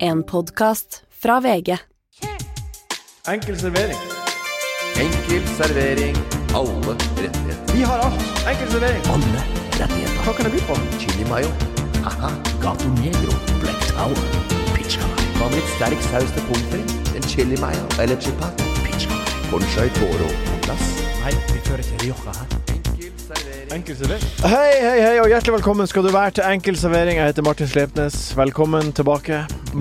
En podkast fra VG. Enkel servering. Enkel servering. Alle rettigheter. Vi har alt. Enkel servering. Alle rettigheter. Hva kan det by på? Chili mayo. Haha. Gato negro. Black tower. Pizza. Hva med litt sterk saus til pommes frites? En chili mayo eller chipat? Pizza. Conchai toro på plass. Nei, vi fører ikke Rioja her. Enkel servering. Enkel servering. Hei, hei, hei, og hjertelig velkommen skal du være til Enkel servering. Jeg heter Martin Slepnes. Velkommen tilbake,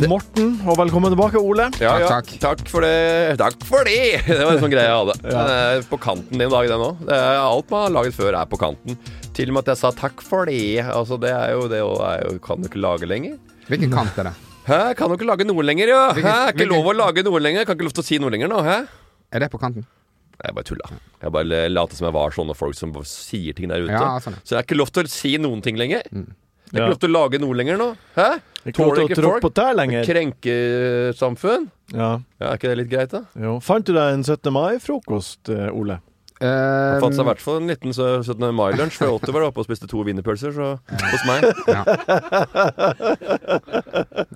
Morten. Og velkommen tilbake, Ole. Ja, ja. Takk, Takk. takk. for det. Takk for det! Det var en sånn greie jeg hadde. Den er på kanten din dag, den òg. Alt man har laget før, er på kanten. Til og med at jeg sa 'takk for det'. Altså, det er jo det og er jo, Kan du ikke lage lenger? Hvilken Mm. kant er det? Hæ, kan du ikke lage noe lenger, jo? Hæ, er ikke hvilken- lov å lage noe lenger? Kan ikke lov til å si noe lenger nå, hæ? Er det på kanten? Jeg bare tulla. Jeg bare later som jeg var sånne folk som bare sier ting der ute. Ja, sånn, ja. Så jeg har ikke lov til å si noen ting lenger. Jeg har Ja. ikke lov til å lage noe lenger nå. Hæ? Ikke lov til å tråkke på tær lenger. Krenkesamfunn? Ja. Ja, er ikke det litt greit, da? Jo. Fant du deg en 17. mai-frokost, eh, Ole? Uh, Jeg fant seg i hvert fall en liten sø- 17. mai-lunsj, for Otter var oppe og spiste to wienerpølser så, hos meg. Eh,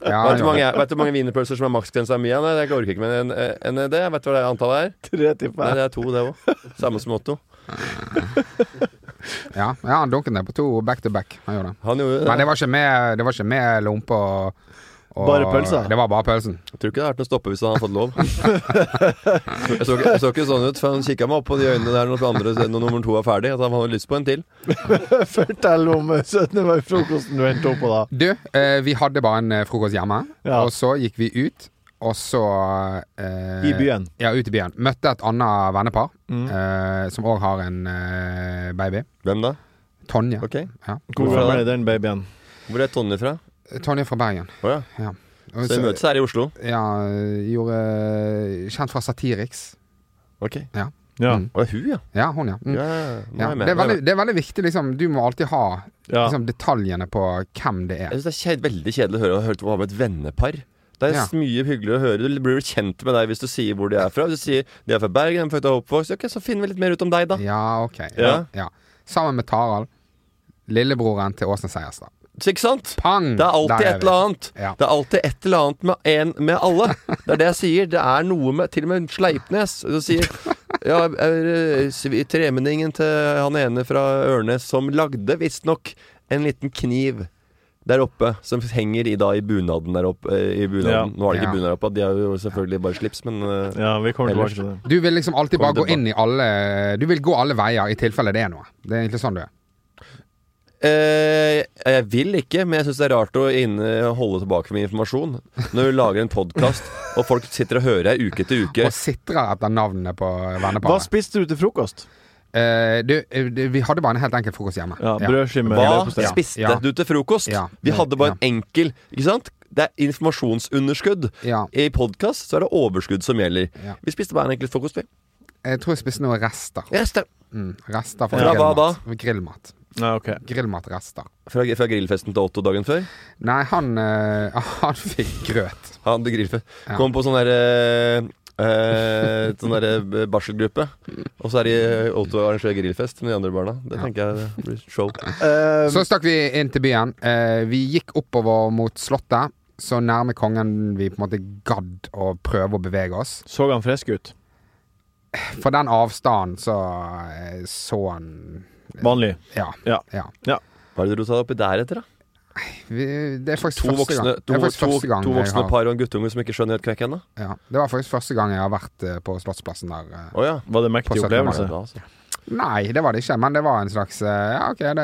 ja, Vet du hvor ja. mange, vet du hvor mange wienerpølser som er maksgrensa mi? Nei, jeg orker ikke med en, en en- det. Vet du hva det antallet er? 35. Nei, det er to, det òg. Samme som Otto. ja, ja, han dunket ned på to back to back. Han gjorde det. Han gjorde Men det. det var ikke med, det var ikke med lompe og, og Bare pølser? Det var bare pølsen. Jeg tror ikke det hadde vært noe stoppe hvis han hadde fått lov. Jeg så, ikke- jeg så ikke sånn ut, for han kikka meg opp på de øynene der når, den andre, når nummer to var ferdig, at han hadde lyst på en til. Fortell om eh, 17. mai-frokosten du endte opp på, da. Du, eh, vi hadde bare en eh, frokost hjemme, Ja. og så gikk vi ut. Og så eh, I byen. Ja, ut i byen. Møtte et annet vennepar Mm. eh, som òg har en eh, baby. Hvem da? Tonje. Ok. Ja. Hvor gammel er den babyen? Hvor er Tonje fra? Tonje fra Bergen. Å ja. Og Så vi møtes her i Oslo. Ja, gjorde eh, Kjent fra Satiriks. Ok. Ja. Mm. Å, hun, ja. Ja, hun, ja. Mm. ja. nå Ja, jeg med. det, er veldig, det er veldig viktig, liksom. Du må alltid ha ja. liksom, detaljene på hvem det er. Jeg synes det er kje- veldig kjedelig å høre å høre å ha med et vennepar. Det er Ja. mye hyggeligere å høre. Du blir jo kjent med deg hvis du sier hvor de er fra. Hvis du sier de er fra Bergen, de er født og oppvokst, ok, så finner vi litt mer ut om deg, da. Ja, ok. Ja. Sammen med Tarald, lillebroren til Åsne Seierstad. Så ikke sant? Pang! Det er alltid Der et eller annet. Ja. Det er alltid et eller annet med, en, med alle. Det er det jeg sier. Det er noe med Til og med Sleipnes. Du sier ja, er, eh, svi- tremenningen til han ene fra Ørnes som lagde visstnok en liten kniv der oppe, som henger i, da, i bunaden der oppe. eh, I bunaden. Ja. Nå har de ikke Ja. bunad oppe, de har jo selvfølgelig bare slips, men eh, ja, vi kommer tilbake Ellers- til det. Du vil liksom alltid Kommer bare gå tilbake. inn i alle Du vil gå alle veier i tilfelle det er noe. Det er egentlig sånn du er. Eh, jeg vil ikke, men jeg syns det er rart å inne, holde tilbake med informasjon. Når du lager en podkast, og folk sitter og hører deg uke etter uke. Og sitrer etter navnene på Hva venneparet. spiste du til frokost? Eh, du, eh, du, vi hadde bare en helt enkel frokost hjemme. Ja, Brødskive med Hva leverpostei. Ja. spiste du til frokost? Ja. Vi hadde bare en enkel Ikke sant? Det er informasjonsunderskudd. Ja. I podkast så er det overskudd som gjelder. Ja. Vi spiste bare en enkel frokost, vi. Jeg tror jeg spiste noen rester. Rester. Mm, rester fra Fra hva grillmat. Grillmat. Ja, ok. Grillmatrester. Fra, fra grillfesten til Otto dagen før. Nei, han, eh, han fikk grøt. Han hadde grillfest. Ja. Kom på sånn derre eh, sånn derre barselgruppe. Og så er de Otto arrangerer grillfest med de andre barna. Det tenker jeg det blir show. Eh, Så stakk vi inn til byen. Eh, vi gikk oppover mot Slottet, så nærme kongen vi på en måte gadd å prøve å bevege oss. så han frisk ut? For den avstanden så eh, så han Vanlig. Ja. Ja. ja. Hva er det du sa oppi der etter, da? Vi, det er faktisk To første voksne, gang. to, Det er faktisk to, første gang to jeg voksne har- par og en guttunge som ikke skjønner helt kvekk ennå? Ja. Det var faktisk første gang jeg har vært eh, på Slottsplassen der. eh. Å ja. Var det en mektig På 17. opplevelse? Ja, da, altså. Nei, det var det ikke, men det var en slags eh, Ja, ok, det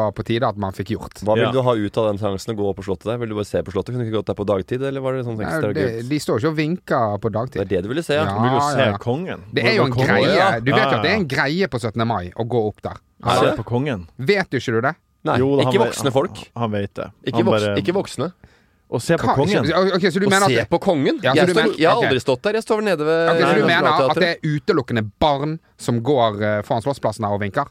var på tide at man fikk gjort. Hva vil Ja. du ha ut av den seansen å gå opp på slottet der? Vil du bare se på slottet? Kunne du ikke gått der på dagtid, eller var det sånn Nei, ekstra det, kult? Eh, de står jo ikke og vinker Det på er dagtid. det du ville se, ja? Du vil jo Ja, se ja, ja. kongen. Det er jo en Hvor kongen- greie. ja. Du vet Ja, jo at ja. det er en greie på 17. mai å gå opp der. Altså, Ja. Se Er det? på kongen. Vet jo ikke du det? Nei, Jo, da, han ikke vet- voksne folk. Han, han vet det. Ikke, Han voks, bare- ikke voksne. Å se på Kan- kongen. ikke- ok, så du Å mener at se det, på kongen? Ja, så jeg, du står, mener- jeg har ok. aldri stått der. Jeg står nede ved Ok, så Nei, du nei, mener at Nationaltheatret. det er utelukkende barn som går eh, foran Slottsplassen her og vinker?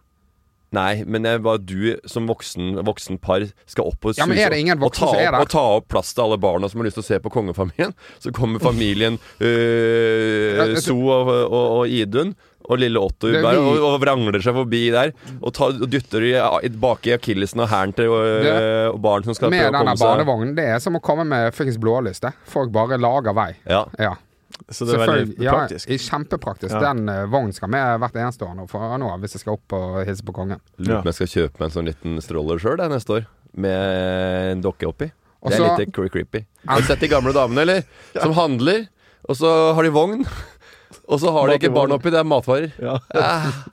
Nei, men jeg, bare du som voksen, voksen par skal opp og Ja, men er det ingen og ta, voksne som er opp, der? og ta opp plass til alle barna som har lyst til å se på kongefamilien. Så kommer familien øh, jeg tror- So og, og, og Idun. og lille Otto Det er Uberg, vi- og, og vrangler seg forbi der. Og, tar, og dytter i, i baki akillesen og hæren til øh, og barn som skal Med prøve å denne komme seg. barnevognen. Det er som å komme med fuckings blålyste. Folk bare lager vei. Ja. Ja, Så det er veldig selvfølgelig. Ja, praktisk. kjempepraktisk. Ja. Den eh, vognen skal med hvert eneste år nå, fra nå av hvis jeg skal opp og hilse på kongen. Lurer Ja. på om jeg skal kjøpe meg en sånn liten stroller sjøl neste år, med en dokke oppi. Og Det er så- litt cre- creepy. Har du sett de gamle damene, eller? Som handler, og så har de vogn. Og så har Mat de i ikke barn vogn. oppi, det er matvarer. Ja. Ah,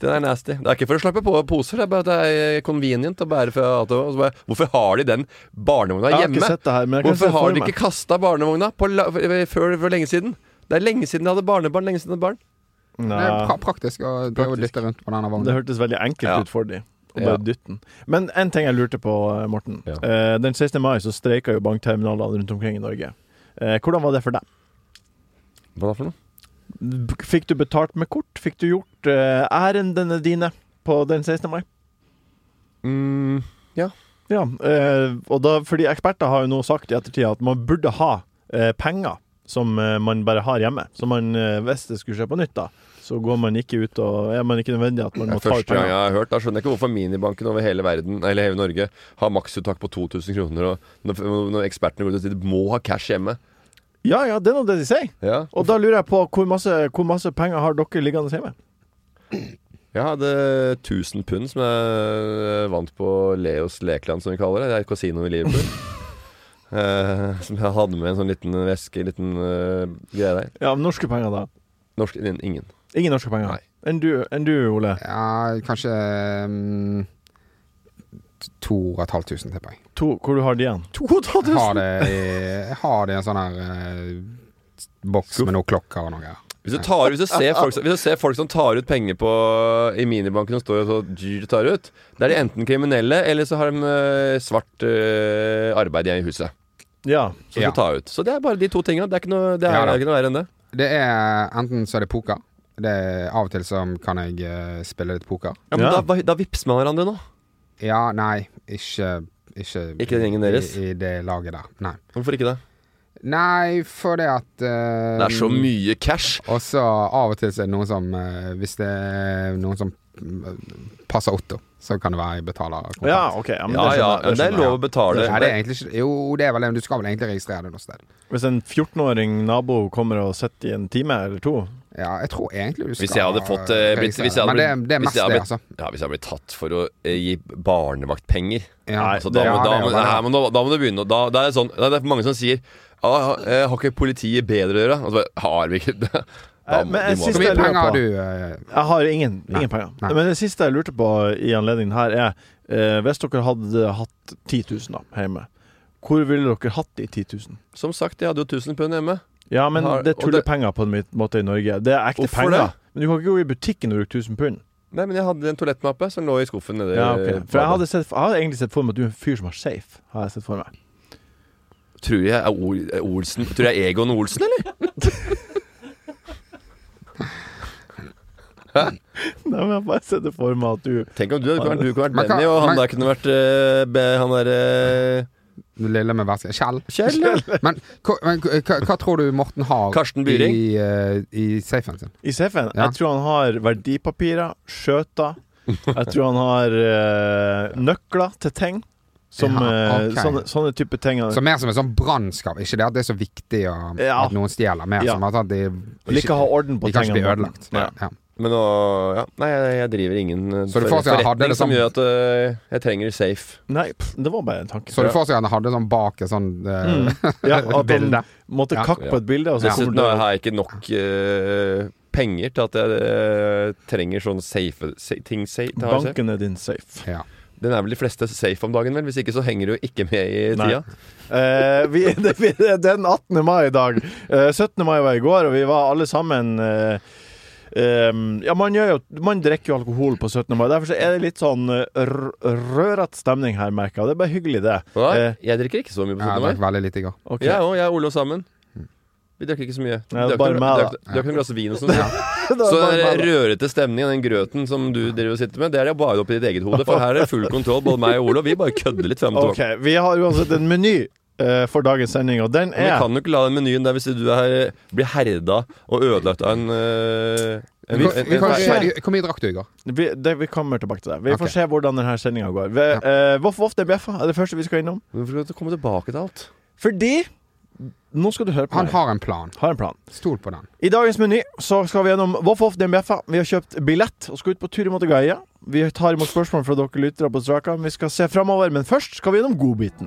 Den er nasty. Det er ikke for å slappe på poser, det er bare at det er convenient å bære fra A til Å. Og så bare, Hvorfor har de den barnevogna Jeg har ikke hjemme? sett det her, men jeg kan se Hvorfor det har for de meg. ikke kasta barnevogna på la før for, lenge siden? Det er lenge siden de hadde barnebarn. lenge siden de hadde barn Det Nei, er pra praktisk å drive og dytte rundt på denne det vognen. hørtes veldig enkelt Ja. ut for de. Og Ja. bare dytte den. Men en ting jeg lurte på, eh, Morten. Ja. Eh, Den 16. mai så streika jo bankterminalene rundt omkring i Norge. Eh, Hvordan var det for deg? Hva da for noe? B- Fikk du betalt med kort? Fikk du gjort eh, ærendene dine på den 16. mai? Mm, Ja, eh, og da, fordi eksperter har jo nå sagt i ettertid at man burde ha eh, penger som eh, man bare har hjemme. Så man, eh, hvis det skulle skje på nytt, da, så går man ikke ut og Er man ikke nødvendig at man det må er ta ut første gang penger? jeg har hørt. Da skjønner jeg ikke hvorfor minibanken over hele verden Eller hele Norge har maksuttak på 2000 kroner. Og når, når ekspertene går ut og sier de må ha cash hjemme. Ja ja, det er nå det de sier. Ja, Og da lurer jeg på hvor masse, hvor masse penger har dere liggende hjemme? Jeg hadde 1000 pund som jeg eh, vant på Leos Lekeland, som vi kaller det. Det er et kasino i Liverpool. Eh, som jeg hadde med en sånn liten veske, en liten eh, greie der. Ja, norske penger, da. Norsk in- Ingen. Ingen norske penger. Nei. Enn du, enn du, Ole? Ja, kanskje um, 2500, tipper jeg. To, hvor du har de igjen? Jeg har det i, jeg har det i en sånn her eh, boks med noen klokker og noe. greier. Hvis du, tar, hvis, du ser folk, som- hvis du ser folk som tar ut penger på, i minibanken som står og så dyr tar ut, da er de enten kriminelle, eller så har de eh, svart eh, arbeid igjen i huset. Ja. Som Ja. skal ta ut. Så det er bare de to tinga. Det er ikke noe, det er, Ja da. det er ikke noe verre enn det. Det er Enten så er det poker. Det er, av og til så kan jeg eh, spille litt poker. Ja, men Ja. Da, da vipser man hverandre nå. Ja, nei, ikke Ikke, Ikke den gjengen deres? I, I det laget der. Nei. Hvorfor ikke det? Nei, for det at eh, Det er så mye cash. Og så av og til så er det noen som eh, Hvis det er noen som mm, passer Otto, så kan det være jeg betaler kontant. ja, OK. Ja, men Ja, det skjønner jeg, ja, det det er skjønner jeg. lov å betale. Nei, det er egentlig ikke Jo, det er vel Du skal vel egentlig registrere det noe sted. Hvis en 14-åring nabo kommer og sitter i en time eller to Ja, jeg tror egentlig du skal Hvis jeg hadde fått, eh, blitt- hvis jeg hadde Men det, blitt- det er hvis mest jeg hadde det, blitt- altså. Ja, Hvis jeg blir tatt for å eh, gi barnevaktpenger Ja. Nei, altså, da, Ja, må, det da, er jo må, bare- nei, men da, da må du begynne å- da, det, er sånn, det er mange som sier ah, eh, Har ikke politiet bedre å gjøre? Og så bare Har vi ikke det? Da Eh, må, men jeg de må, synes Hvor det mye jeg lurer penger har på. du? eh, Jeg har ingen, Nei. ingen penger. Nei. Men det siste jeg lurte på i anledningen her, er eh, Hvis dere hadde hatt 10 000 da, hjemme, hvor ville dere hatt de 10 000? som sagt, jeg hadde jo 1000 pund hjemme. Ja, men Har- det er og det- tullepenger på en my- måte i Norge. Det er ekte Hvorfor penger. det? Men du kan ikke gå i butikken og bruke 1000 pund. Nei, men jeg hadde en toalettmappe som lå i skuffen nede. Ja, ok. i For jeg badet. hadde, sett, jeg hadde egentlig sett for meg at du er en fyr som har safe. Har jeg sett for meg Tror jeg er Ol- er Olsen Tror jeg er Egon Olsen, eller? Nei, men jeg har bare sett det for meg at du Tenk om du, hadde- du kunne vært Men hva- Benny, og han men- der kunne vært eh, be, Han der eh, Lille med væske Kjell? Kjell, ja. Men, hva- men hva, hva tror du Morten har Karsten i, Byring. eh, i safen sin? I safen? Ja. Jeg tror han har verdipapirer, skjøter Jeg tror han har eh, nøkler til ting. Som Ja, eh, ok. sånne, sånne type ting. Så mer som en sånn brannskav. Ikke det at det er så viktig å, Ja. at noen stjeler, mer Ja. som at de Liker å ha orden på de kan ikke bli tingene. ødelagt. Nei. Ja. Men nå ja. Nei, jeg, jeg driver ingen eh, Så du for- får seg- hadde liksom- forretning det som samme- gjør at eh, jeg trenger safe. Nei, pff, det var bare en tanke. Mm. Så du får seg at han hadde sånn bak et sånn eh, ja, at han bilde. måtte Ja. kakke på et bilde, og så Dessuten kommer det har jeg ikke nok eh, penger til at jeg eh, trenger sånn safe sa, ting sa, til å ha safe. Banken er din safe. Ja. Den er vel de fleste safe om dagen, vel? Hvis ikke så henger du jo ikke med i Nei. tida. Eh, vi, det, vi, det er den 18. mai i dag. Eh, 17. mai var i går, og vi var alle sammen eh, em, ja, man, gjør jo, man drikker jo alkohol på 17. mai. Derfor så er det litt sånn eh, r- rørete stemning her, merker jeg. Det er bare hyggelig, det. Nei, Eh, jeg drikker ikke så mye på 17. Jeg mai. drakk veldig lite i går. ok. Jeg òg. Jeg og Ole og sammen. Vi drakk ikke så mye. Nei, det er Vi drakk bare noen- meg, da. drakk- drakk noen glass vin og sånn. Det var bare Så meg, den da. rørete stemningen, den grøten som du driver og sitter med, det er det bare opp i ditt eget hode. For her er det full kontroll, både meg og Ole, og vi bare kødder litt frem og tilbake. OK. Vi har uansett en meny eh, for dagens sending, og den Men vi er kan jo ikke la den menyen der hvis du er, blir herda og ødelagt av en øh, En- en- Hvor, en- hvor, vi- hvor, hvor mye drakk du i går? Vi, det, vi kommer tilbake til det. Vi Ok. får se hvordan denne sendinga går. Vi, eh, Voff Voff det er bjeffa er det første vi skal innom. Hvorfor skal du komme tilbake til alt? Fordi Nå skal du høre på Han meg. har en plan. har en plan. Stol på den. I dagens meny så skal vi gjennom Voff Voff det er bjeffa Vi har kjøpt billett og skal ut på tur i Motogaia. Vi tar imot spørsmål fra dere lyttere på straka. Vi skal se framover, men først skal vi gjennom godbiten.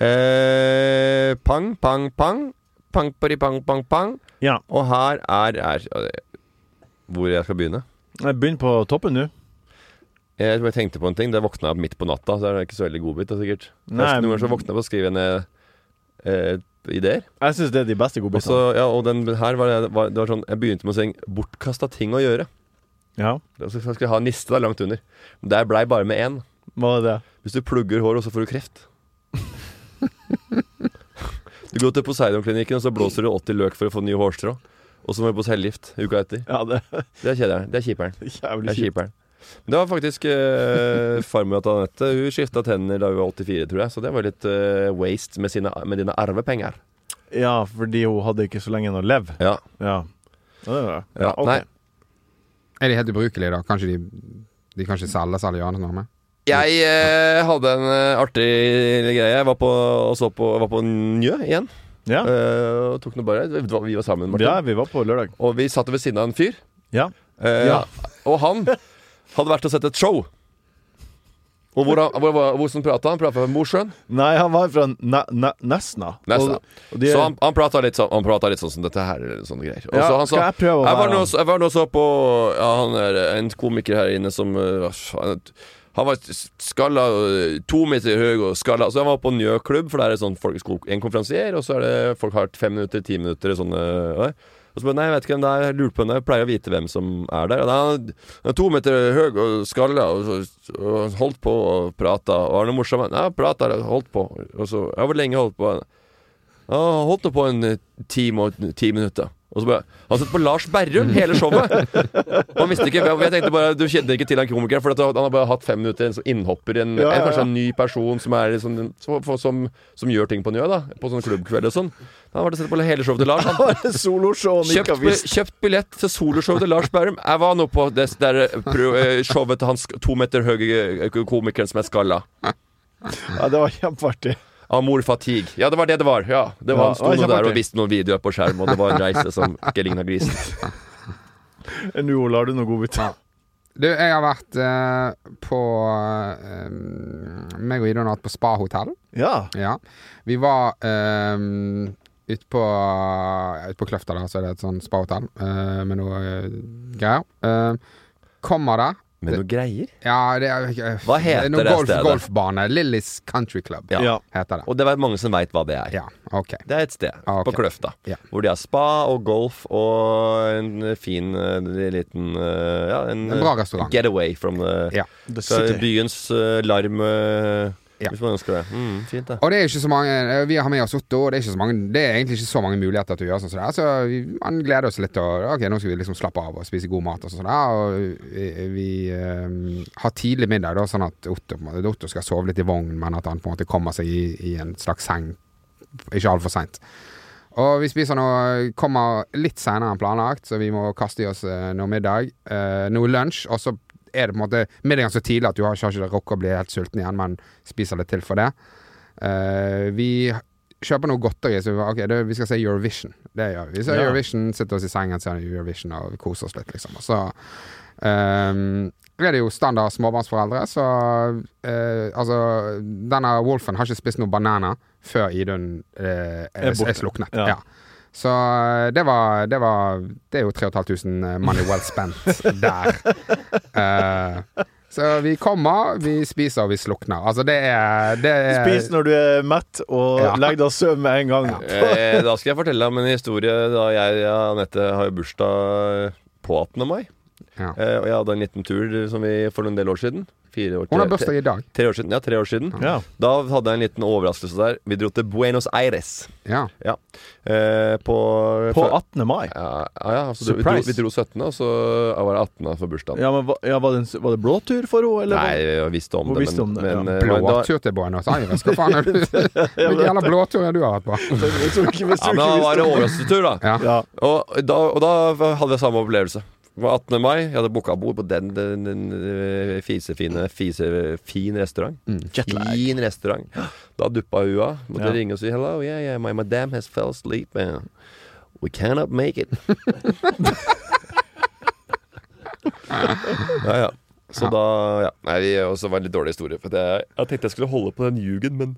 Eh, pang, pang, pang. Pang, pari, pang, pang, pang. Ja. Og her er, er eh, Hvor jeg skal begynne? Begynn på toppen nå. Jeg, jeg tenkte på en ting. Da våkna jeg midt på natta, så det er ikke så veldig godbit. da, sikkert Nei, Først Noen ganger så men- våkner jeg på å skrive ned eh, ideer. Jeg syns det er de beste Og godbitene. så, ja, og den her var, det- var, det var sånn Jeg begynte med å synge 'Bortkasta ting å gjøre'. Ja, Da skal jeg ha en liste da, langt under. Men Der blei bare med én. hva er det? Hvis du plugger håret, så får du kreft. Du går til Poseidon-klinikken, og så blåser du 80 løk for å få ny hårstrå. Og så må du på cellegift uka etter. Ja, det Det er kjederen. Det er kjiperen. er Det jævlig er kjipt. kjiperen. Men det var faktisk uh, farmor til Anette. Hun skifta tenner da hun var 84, tror jeg. Så det var litt eh, waste med, sine, med dine arvepenger. Ja, fordi hun hadde ikke så lenge igjen å leve. Ja. Ja. Ja, det var det. ja. ok. Nei. Er de helt ubrukelige, da? Kanskje de, de kan ikke selges eller gjøre noe med? Jeg eh, hadde en eh, artig greie. Jeg var på, og så på, var på Njø igjen. Ja. Eh, og tok noe bare. Det var- Vi var sammen, Martin. ja, vi var på lørdag. Og vi satt ved siden av en fyr. Ja. Eh, Ja. Og han hadde vært og sett et show. Og hvor, han, hvor, hvor, hvordan prata han? Prata med Mosjøen. Nei, han var fra Na- Na- Nesna. Nesna. Og, og de, så han, han prata litt, sånn, han pratet litt sånn som dette her. eller Sånne greier. Og Ja, så han sa skal jeg prøve å jeg var være nå han?» så- jeg var nå så på ja, han er en komiker her inne som eh, hva faen, Han var skalla eh, to meter høy og skalla. Så han var på Njø klubb, for der er sånn folk, sko- en konferansier, og så er det folk har fem minutter, ti minutter sånne der. Og så bare Nei, jeg vet ikke hvem det er. Jeg lurer på hvem det er. Jeg pleier å vite hvem som er der. Og da, han han er to meter høy og skalla, og, så- og holdt på og prata. Og Arne Morsom Ja, prata, holdt på. Og så Ja, hvor lenge holdt på? Ja, han holdt det på en eh, time og ti minutter. Og så bare, Han satt på Lars Berrum hele showet! Og han visste ikke, jeg tenkte bare, Du kjenner ikke til han komikeren, for at han har bare hatt fem minutter en sånn innhopper, en, Ja, ja, en, ja. kanskje en ny person som, er, sånn, som, for- som, som gjør ting på Njø, da på sånn klubbkveld og sånn. Han var det sett på hele showet til Lars. Han. Soloshow han ikke Kjøpt, har bi- visst. kjøpt billett til soloshowet til Lars Berrum. Jeg var nå på det der eh, pro- eh, showet til hans to meter høye eh, komikeren som er skalla. Ja, det var kjempeartig. Amor Fatigue. Ja, det var det det var. Ja, det Ja, var Han sto det var nå der og kjempeartig. viste noen videoer på skjerm, og det var en reise som ikke ligna grisen. Nå Ola, har du noe godbit? Du, jeg har vært eh, på eh, Meg og Ida har vært på spahotell. Ja. Ja. Vi var um, ute på, ja, ut på Kløfta, da, så er det et sånn spahotell eh, med noe eh, greier. Eh, kommer der Men noe greier. Ja, det er eh, Hva heter noe det golf, stedet? Golfbane. Lillys Country Club Ja. Ja. heter det. Og det er mange som veit hva det er. Ja, OK. Det er et sted Ah, ok. på Kløfta Ja. hvor de har spa og golf og en fin eh, liten eh, Ja, en, eh, En bra restaurant. getaway from the, Ja. The så City. byens eh, larm, eh, Ja. hvis man ønsker det. Mm, fint, det. Og det er ikke så mange eh, Vi har med oss Otto, og det er, ikke så mange, det er egentlig ikke så mange muligheter til å gjøre sånn som det er. Så vi, man gleder oss litt, og ok, nå skal vi liksom slappe av og spise god mat og sånn. som det er, Og vi, vi eh, har tidlig middag, da, sånn at Otto, på en måte- Otto skal sove litt i vogn, men at han på en måte kommer seg i, i en slags seng ikke altfor seint. Og vi spiser nå Kommer litt senere enn planlagt, så vi må kaste i oss eh, noe middag. eh, noe lunsj, og så er det på en måte middagen så tidlig at du har ikke har ikke rukket å bli helt sulten igjen, men spiser litt til for det. Eh, vi kjøper noe godteri, så vi, var, ok, det, vi skal se Eurovision. Det gjør vi. Vi ser Ja. Eurovision, sitter oss i sengen, ser Eurovision og koser oss litt, liksom. Og så ehm, er det jo standard småbarnsforeldre, så eh, Altså, denne Wolfen har ikke spist noen bananer før Idun eh, Er er, borte. er sluknet. Ja. Ja. Så eh, det var, det var Det er jo 3500 money well spent der. Eh, så vi kommer, vi spiser og vi slukner. Altså, det er, det er Spis når du er mett, og Eh, Ja. legg deg og sov med en gang. Eh, da skal jeg fortelle deg om en historie da jeg og Anette har jo bursdag på 18. mai. Ja. Eh, og jeg hadde en liten tur som vi for en del år siden. Fire år, Hun har tre- bursdag i dag. Tre år siden, ja, tre år siden. Ja. Da hadde jeg en liten overraskelse der. Vi dro til Buenos Aires. Ja. Ja. Eh, på På 18. mai. Ja, ja, ja altså, vi, dro, Surprise. vi dro 17., og så var det 18. for bursdagen. Ja, men hva- ja, var, det en, var det blå tur for henne, eller? Nei, jeg visste om Hun det, visste om det, ja. men, eh, da- Blåtur til Buenos Aires? Hva faen er du Hvilken jævla blåtur er du har hatt på? Jeg tror ikke, jeg Ja, tror men ikke da var det vi overraskelsestur, da. Ja. Ja. Og da, og da hadde jeg samme opplevelse. Det var 18. mai, jeg hadde booka bord på den, den, den, eh, fisefine fise, fin restaurant. Fin restaurant. Da duppa hun av. Måtte Ja. ringe og si 'hello, yeah, yeah, my madam has fell asleep'. eh, We cannot make it. ja, ja. Så da ja. Nei, vi også var en litt dårlig historie. For det, jeg tenkte jeg skulle holde på den ljugen, men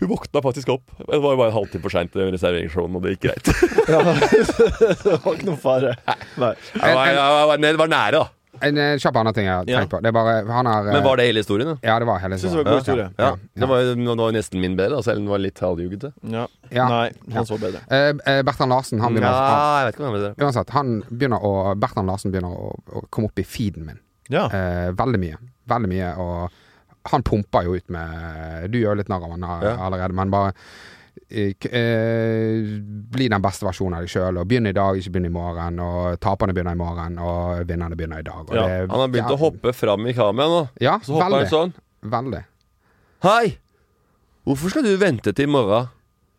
hun våkna faktisk opp. Det var jo bare en halvtime for seint til reserveringsshowen, og det gikk greit. Det var ikke noen fare. Nei. Jeg var, jeg var, jeg var nære, da. En eh, kjapp annen ting jeg har tenkt på. Det er bare Han har eh, Men var det hele historien? da? Ja, det var hele Synes det var en god historie. Ja, Det var, jo- nå var nesten min bedre, da, selv om den var litt halvjugete. Ja. Ja. Nei, han så bedre. Eh, eh, Bertrand Larsen, han begynner han, jeg vet ikke om det var bedre. Uansett, han begynner å Bertrand Larsen begynner å, å komme opp i feeden min. Ja. Eh, veldig mye. Veldig mye. Og han pumper jo ut med Du gjør jo litt narr av han eh, Ja. allerede, men bare eh, k- eh, bli den beste versjonen av deg sjøl, og begynn i dag, ikke begynn i morgen. Og taperne begynner i morgen, og vinnerne begynner i dag. Og Ja, det er Han har begynt å jævlig- hoppe fram i kameraet nå. Ja, Så hopper han veldig. sånn. Veldig. Hei! Hvorfor skal du vente til i morgen?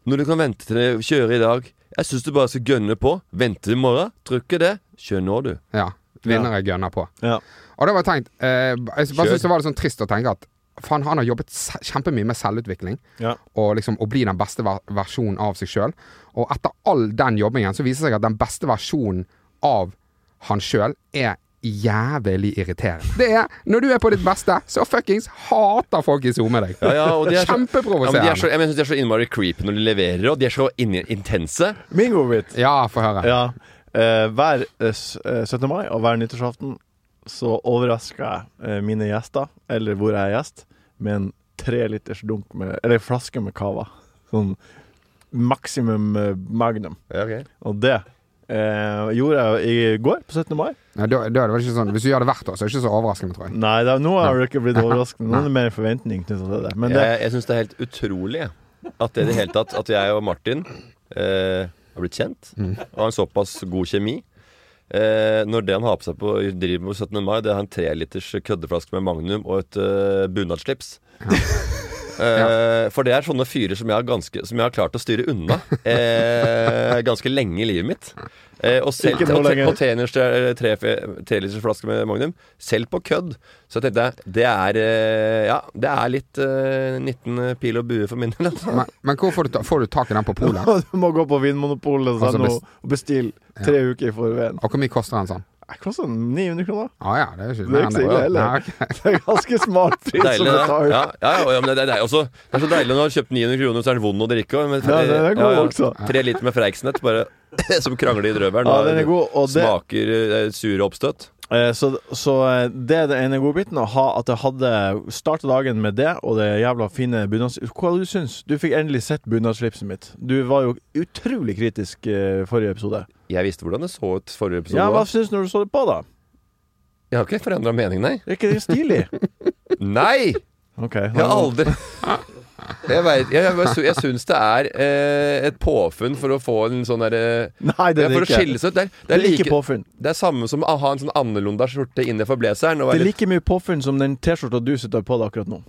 Når du kan vente til å kjøre i dag. Jeg syns du bare skal gønne på. Vente til i morgen. Tror ikke det. Kjør nå, du. Ja. Vinnere gønner på. Ja. Og det var tenkt eh, Jeg bare Kjør. synes det var litt sånn trist å tenke at faen, han har jobbet se- kjempemye med selvutvikling. Ja. Og liksom å bli den beste ver versjonen av seg sjøl. Og etter all den jobbingen så viser det seg at den beste versjonen av han sjøl er jævlig irriterende. Det er når du er på ditt beste, så fuckings hater folk i SoMe deg. Ja, ja, og de er så- Ja, men de er så, Kjempeprovoserende. jeg mener, de er så innmari creepy når de leverer, og de er så inn, intense. Mingo-bit. Ja, få høre. Ja. Eh, hver eh, s- eh, 17. mai og hver nyttårsaften så overrasker jeg eh, mine gjester, eller hvor jeg er gjest, med en treliters dunk med Eller en flaske med cava. Sånn maksimum eh, magnum. Ja, ok. Og det eh, gjorde jeg jo i går, på 17. mai. Nei, da, da er det vel ikke sånn Hvis du gjør det hvert år, så er det ikke så overraskende, tror jeg. Nei, det er, nå har det ikke blitt overraskende. Nå er det mer en forventning knyttet til det. Men det, Jeg, jeg syns det er helt utrolig jeg, at det i det hele tatt At jeg og Martin eh, har blitt kjent Mm. og har en såpass god kjemi. Eh, når det han har på seg på driver med på 17. mai, det er en treliters køddeflaske med Magnum og et eh, bunadsslips. Eh, for det er sånne fyrer som jeg har, ganske, som jeg har klart å styre unna eh, ganske lenge i livet mitt. Eh, og selv Ikke nå og, te- lenger. og teners, tre, tre, trelitersflaske med Magnum, selv på kødd, så tenkte jeg det er, eh, ja, det er litt eh, 19 pil og bue for min del. altså. Men, men hvor får du, ta- får du tak i den på polet? du må gå på Vinmonopolet Altså, og best- bestille tre uker i forveien. Og hvor mye koster en sånn? Det koster 900 kroner. Ah, ja, det er ikke Det er ikke så ille Nei, heller. ok. Det er ganske smal pris å Deilig, det. betale. Ja, ja, ja, men det, det, er også, det er så deilig når du har kjøpt 900 kroner, så er den vond å drikke. og- Men, Ja, den er god også. Tre liter med Freiksnett bare, som krangler i drøvelen. Ja, og den er god, og det- Smaker eh, sure oppstøt. Eh, Så, så eh, det er den ene godbiten. Å ha at jeg hadde starta dagen med det, og det jævla fine bunadsslipset Hva du syns du? fikk endelig sett bunadslipset mitt. Du var jo utrolig kritisk eh, forrige episode. Jeg visste hvordan det så ut forrige episode. Ja, hva også. syns du når du så det på, da? Jeg har ikke forandra mening, nei. Er ikke det stilig? Nei! Ok. Jeg har aldri Jeg, vet, jeg, jeg, sy- jeg syns det er eh, et påfunn for å få en sånn derre Nei, det ja, er For det å skille ikke. seg ut. Det er, Det det er er, ikke like, påfunn. det er samme som å ha en sånn annerledes skjorte innenfor blazeren. Og Det er være litt, like mye påfunn som den T-skjorta du sitter på deg akkurat nå.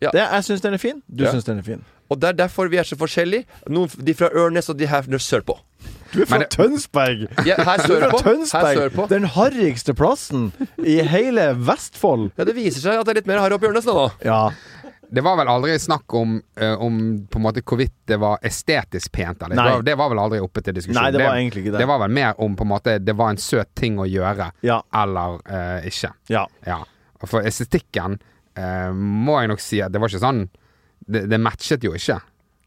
Ja. Det, jeg syns den er fin, du Ja. syns den er fin. Og det er derfor vi er så forskjellige. Noen, de fra Ørnes og de her sørpå. Du er fra Men det- Tønsberg! Ja, her Du er sørpå. fra Her sørpå. Tønsberg! Den harrigste plassen i hele Vestfold. Ja, det viser seg at det er litt mer harry oppe i Ørnes nå, da. Ja. Det var vel aldri snakk om, eh, om på en måte hvorvidt det var estetisk pent. Eller. Det, Nei. var, det var vel aldri oppe til diskusjon. Nei, det var egentlig ikke det. Det var vel mer om på en måte det var en søt ting å gjøre Ja. eller eh, ikke. ja. Ja. Og For estetikken eh, må jeg nok si at det var ikke sånn Det, det matchet jo ikke.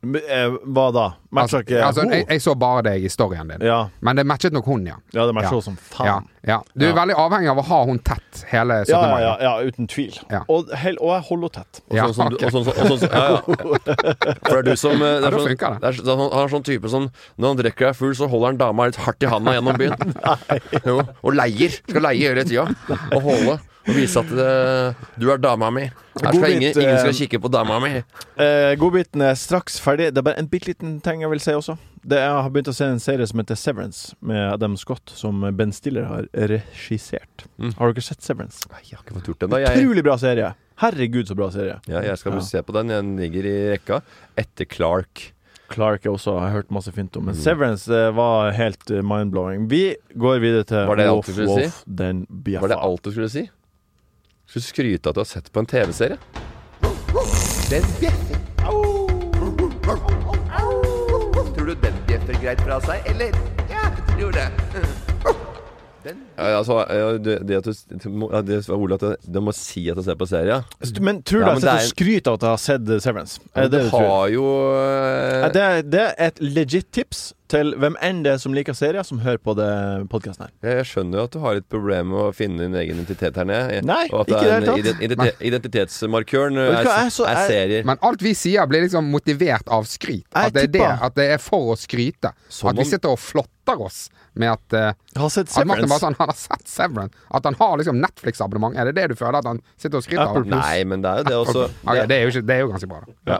Men, eh, Hva da? Altså, Matcher ikke altså, ho? jeg, jeg så bare deg i storyen din. Ja. Men det matchet nok hun, ja. ja, det matcher jo Ja. som faen. Ja, ja. Du er Ja. veldig avhengig av å ha hun tett hele 17. Ja, ja, mai. ja, da. ja, uten tvil. Ja. Og, hel, og jeg holder henne tett. Og Ja, sånn som du- ok. og sånn som- og sånn som- ja, ja. For det er du som eh, det Ja, er da sånn, funker det. det er, sånn- Han er sånn type som når han drikker deg full, så holder han dama litt hardt i handa gjennom byen. Jo, og leier. Skal leie hele tida. Og holde. Og vise at eh, du er dama mi. Her skal Godbit, ingen, ingen skal eh, kikke på dama mi. Eh, Godbiten er straks ferdig. Det er bare en bitte liten ting jeg vil si også. Det er, jeg har begynt å se en serie som heter Severance, med Adam Scott, som Ben Stiller har regissert. Mm. Har dere sett Severance? Jeg har ikke fått gjort det ennå. Jeg, Utrolig bra serie! Herregud, så bra serie. ja, jeg skal Ja. se på den. Den ligger i rekka etter Clark. Clark er også har jeg hørt masse fint Mm. om. Men Severance eh, var helt eh, mind-blowing. Vi går videre til Var det alt Wolf, du skulle Wolf, si? Den Var det bjeffa. alt du skulle si? Skal du skryte av at du har sett på en TV-serie? Den bjeffer. Tror du den bjeffer greit fra seg, eller? Ja, jeg tror det. Ja, altså, ja, det, det at du det må- ja, det, Ole, at det- du må si at du ser på serie. Men tror du Ja, jeg sitter men det og er- skryter av at jeg har sett eh, Severance? Er Men det du det du tror? har jo Ja, eh, Det er, det er et legit tips til hvem enn det er som liker serier, som hører på det podkasten her. eh, Jeg skjønner jo at du har et problem med å finne din egen identitet her nede. Nei, og at det ikke er i det en hele tatt. ident- ident- identitetsmarkøren eh, Vet du hva, er, jeg er så- er jeg- serier. Men alt vi sier, blir liksom motivert av skryt. Jeg At det, er det, tipper. at det er for å skryte. Som at vi om- sitter og flotter oss med at eh, Jeg har sett At Martin bare Severance. sånn, han har sett Severance. At han har liksom Netflix-abonnement. Er det det du føler at han sitter og skryter Apple av? Nei, men det er jo det også. Ok, det, er jo ikke, det er jo ganske bra, da.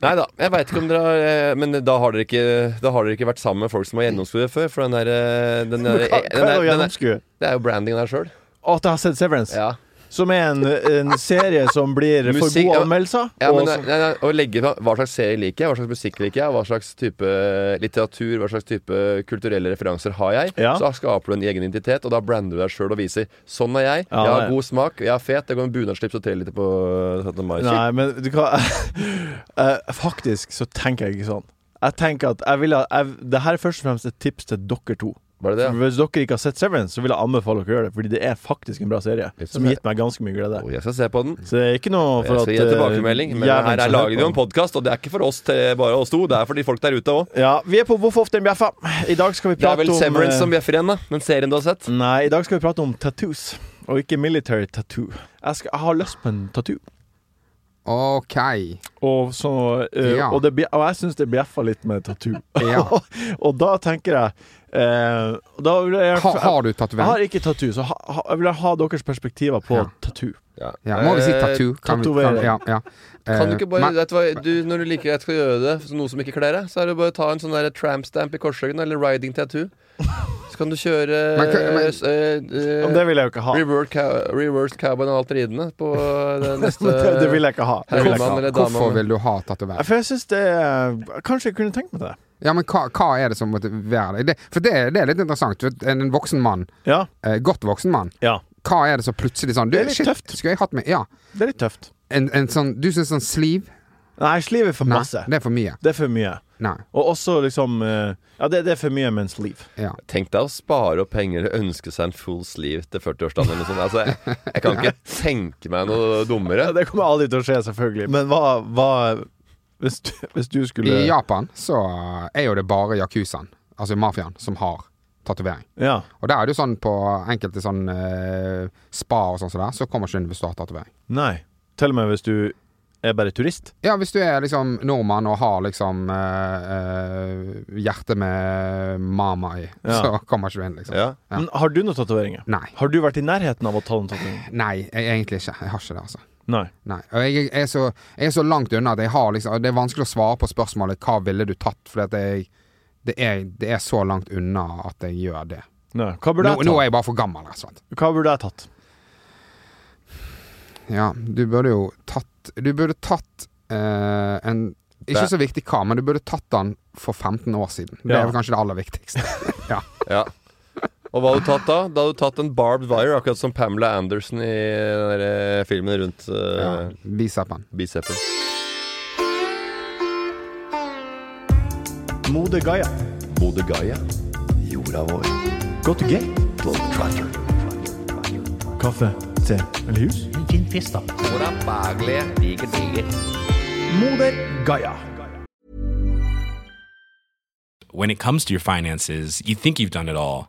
Nei da, jeg veit ikke om dere har eh, Men da har dere ikke, da har dere ikke vært sammen med folk som har gjennomskue før. For den der, eh, den der, Hva- hva er eh, den det å der, den der gjennomskue? Det er jo branding der sjøl. At jeg har sett Severance, Ja. som er en, en serie som blir for Musikk- gode anmeldelser. Ja, og men, som- nei, nei, å legge fram hva slags serie liker jeg, hva slags musikk liker jeg, hva slags type eh, litteratur, hva slags type kulturelle referanser har jeg, Ja. så skaper du en egen identitet, og da brander du deg sjøl og viser sånn er jeg, Ja, jeg det har er- god smak, jeg er fet, jeg går med bunadslips og triller litt på eh, 17. mai. Nei, men du kan Eh, Faktisk så tenker jeg ikke sånn. Jeg tenker at jeg vil ha jeg, Det her er først og fremst et tips til dere to. Var det det? For Hvis dere ikke har sett Severance, så vil jeg anbefale dere å gjøre det. Fordi det er faktisk en bra serie Litt som som har gitt meg ganske mye glede. Og jeg skal se på den. Så det er ikke noe Jeg for skal at gi en eh, tilbakemelding, men jævelen her skal er høre lager vi på jo en den. podkast, og det er ikke for oss til bare oss to, det er for de folk der ute òg. Ja, Vi er på Voff ofte en bjeffa. I dag skal vi Det er prate vel om Severance eh, som bjeffer igjen, da, den serien du har sett. Nei, i dag skal vi prate om tattoos. Og ikke military tattoo. Jeg, skal, jeg har lyst på en tattoo. Ok. Og, så, eh, Ja. og, det, bje- og jeg syns det bjeffer litt med tattoo. Ja. og da tenker jeg eh, og da vil jeg, Ha, har du Jeg har tatovering? ikke tattoo, så ha, ha, jeg vil ha deres perspektiver på Ja. tattoo. Ja, må vi si tattoo? Kan vi- kan- tatovering. Ja, ja. Eh, Kan du ikke bare, Eh, men- vet du hva, du, Når du liker at jeg skal gjøre det, så noe som ikke kler deg, så er det bare å ta en sånn der tramp stamp i korsryggen, eller riding tattoo. Så kan du kjøre Men kan- men- s- eh, eh, Men det vil jeg jo ikke ha. reverse, cow, reverse cowboy og alt ridende på eh, det neste Det, det vil jeg ikke ha. Det vil jeg ikke herremann ha. eller Hvorfor dame. vil du ha Nei, tatovering? For jeg syns det er- Kanskje jeg kunne tenkt meg det. Ja, men hva, hva er det som motiverer deg? Det, for det, det er litt interessant. For en voksen mann, Ja. eh, godt voksen mann, ja. hva er det som plutselig sånn du, Det er litt shit, tøft. Skulle jeg hatt med Ja. Det er litt tøft. En, en sånn Du syns sånn sleeve? Nei, sliv er for Nei, masse. det er for mye. Det er for mye. Nei. Og også liksom eh, Ja, det, det er for mye med en sleeve. Ja. Tenk deg å spare opp penger eller ønske seg en full sleeve til 40-årsdagen eller noe sånt. Altså, jeg, jeg kan ikke tenke meg noe dummere. Ja, det kommer aldri til å skje, selvfølgelig. Men hva, hva hvis, du, hvis du skulle I Japan så er jo det bare yakuzaen, altså mafiaen, som har tatovering. Ja. Og der er det jo sånn på enkelte sånn eh, spa og sånn som der, så kommer ikke du hvis du har tatovering. Nei. Til og med hvis du er bare turist. Ja, hvis du er liksom nordmann og har liksom eh, eh, hjertet med mama i, Ja. så kommer ikke du inn, liksom. Ja. Ja. Men har du noen tatoveringer? Nei. Har du vært i nærheten av å ta noen tatoveringer? Nei, jeg, egentlig ikke. Jeg har ikke det, altså. Nei. Nei. Og jeg, er så, jeg er så langt unna at jeg har liksom Det er vanskelig å svare på spørsmålet 'hva ville du tatt', for jeg, det, er, det er så langt unna at jeg gjør det. Nei. Hva Nå, burde jeg nå tatt? er jeg bare for gammel, rett og slett. Hva burde jeg tatt? Ja, du burde jo tatt Du burde tatt eh, en Ikke Det- så viktig hva, men du burde tatt den for 15 år siden. Det Ja. er vel kanskje det aller viktigste. ja. Ja. Og hva hadde du tatt da? Da hadde du tatt en barbed wire, akkurat som Pamela Anderson i den der eh, filmen rundt ja. uh, Bicepen. bicepen. Mode Gaia. Bodø Gaia, jorda vår. Gå til gate. Globetrotter. Kaffe, te eller hus. Hvordan baglige liker diger. Moder Gaia. When it comes to your finances, you think you've done it all.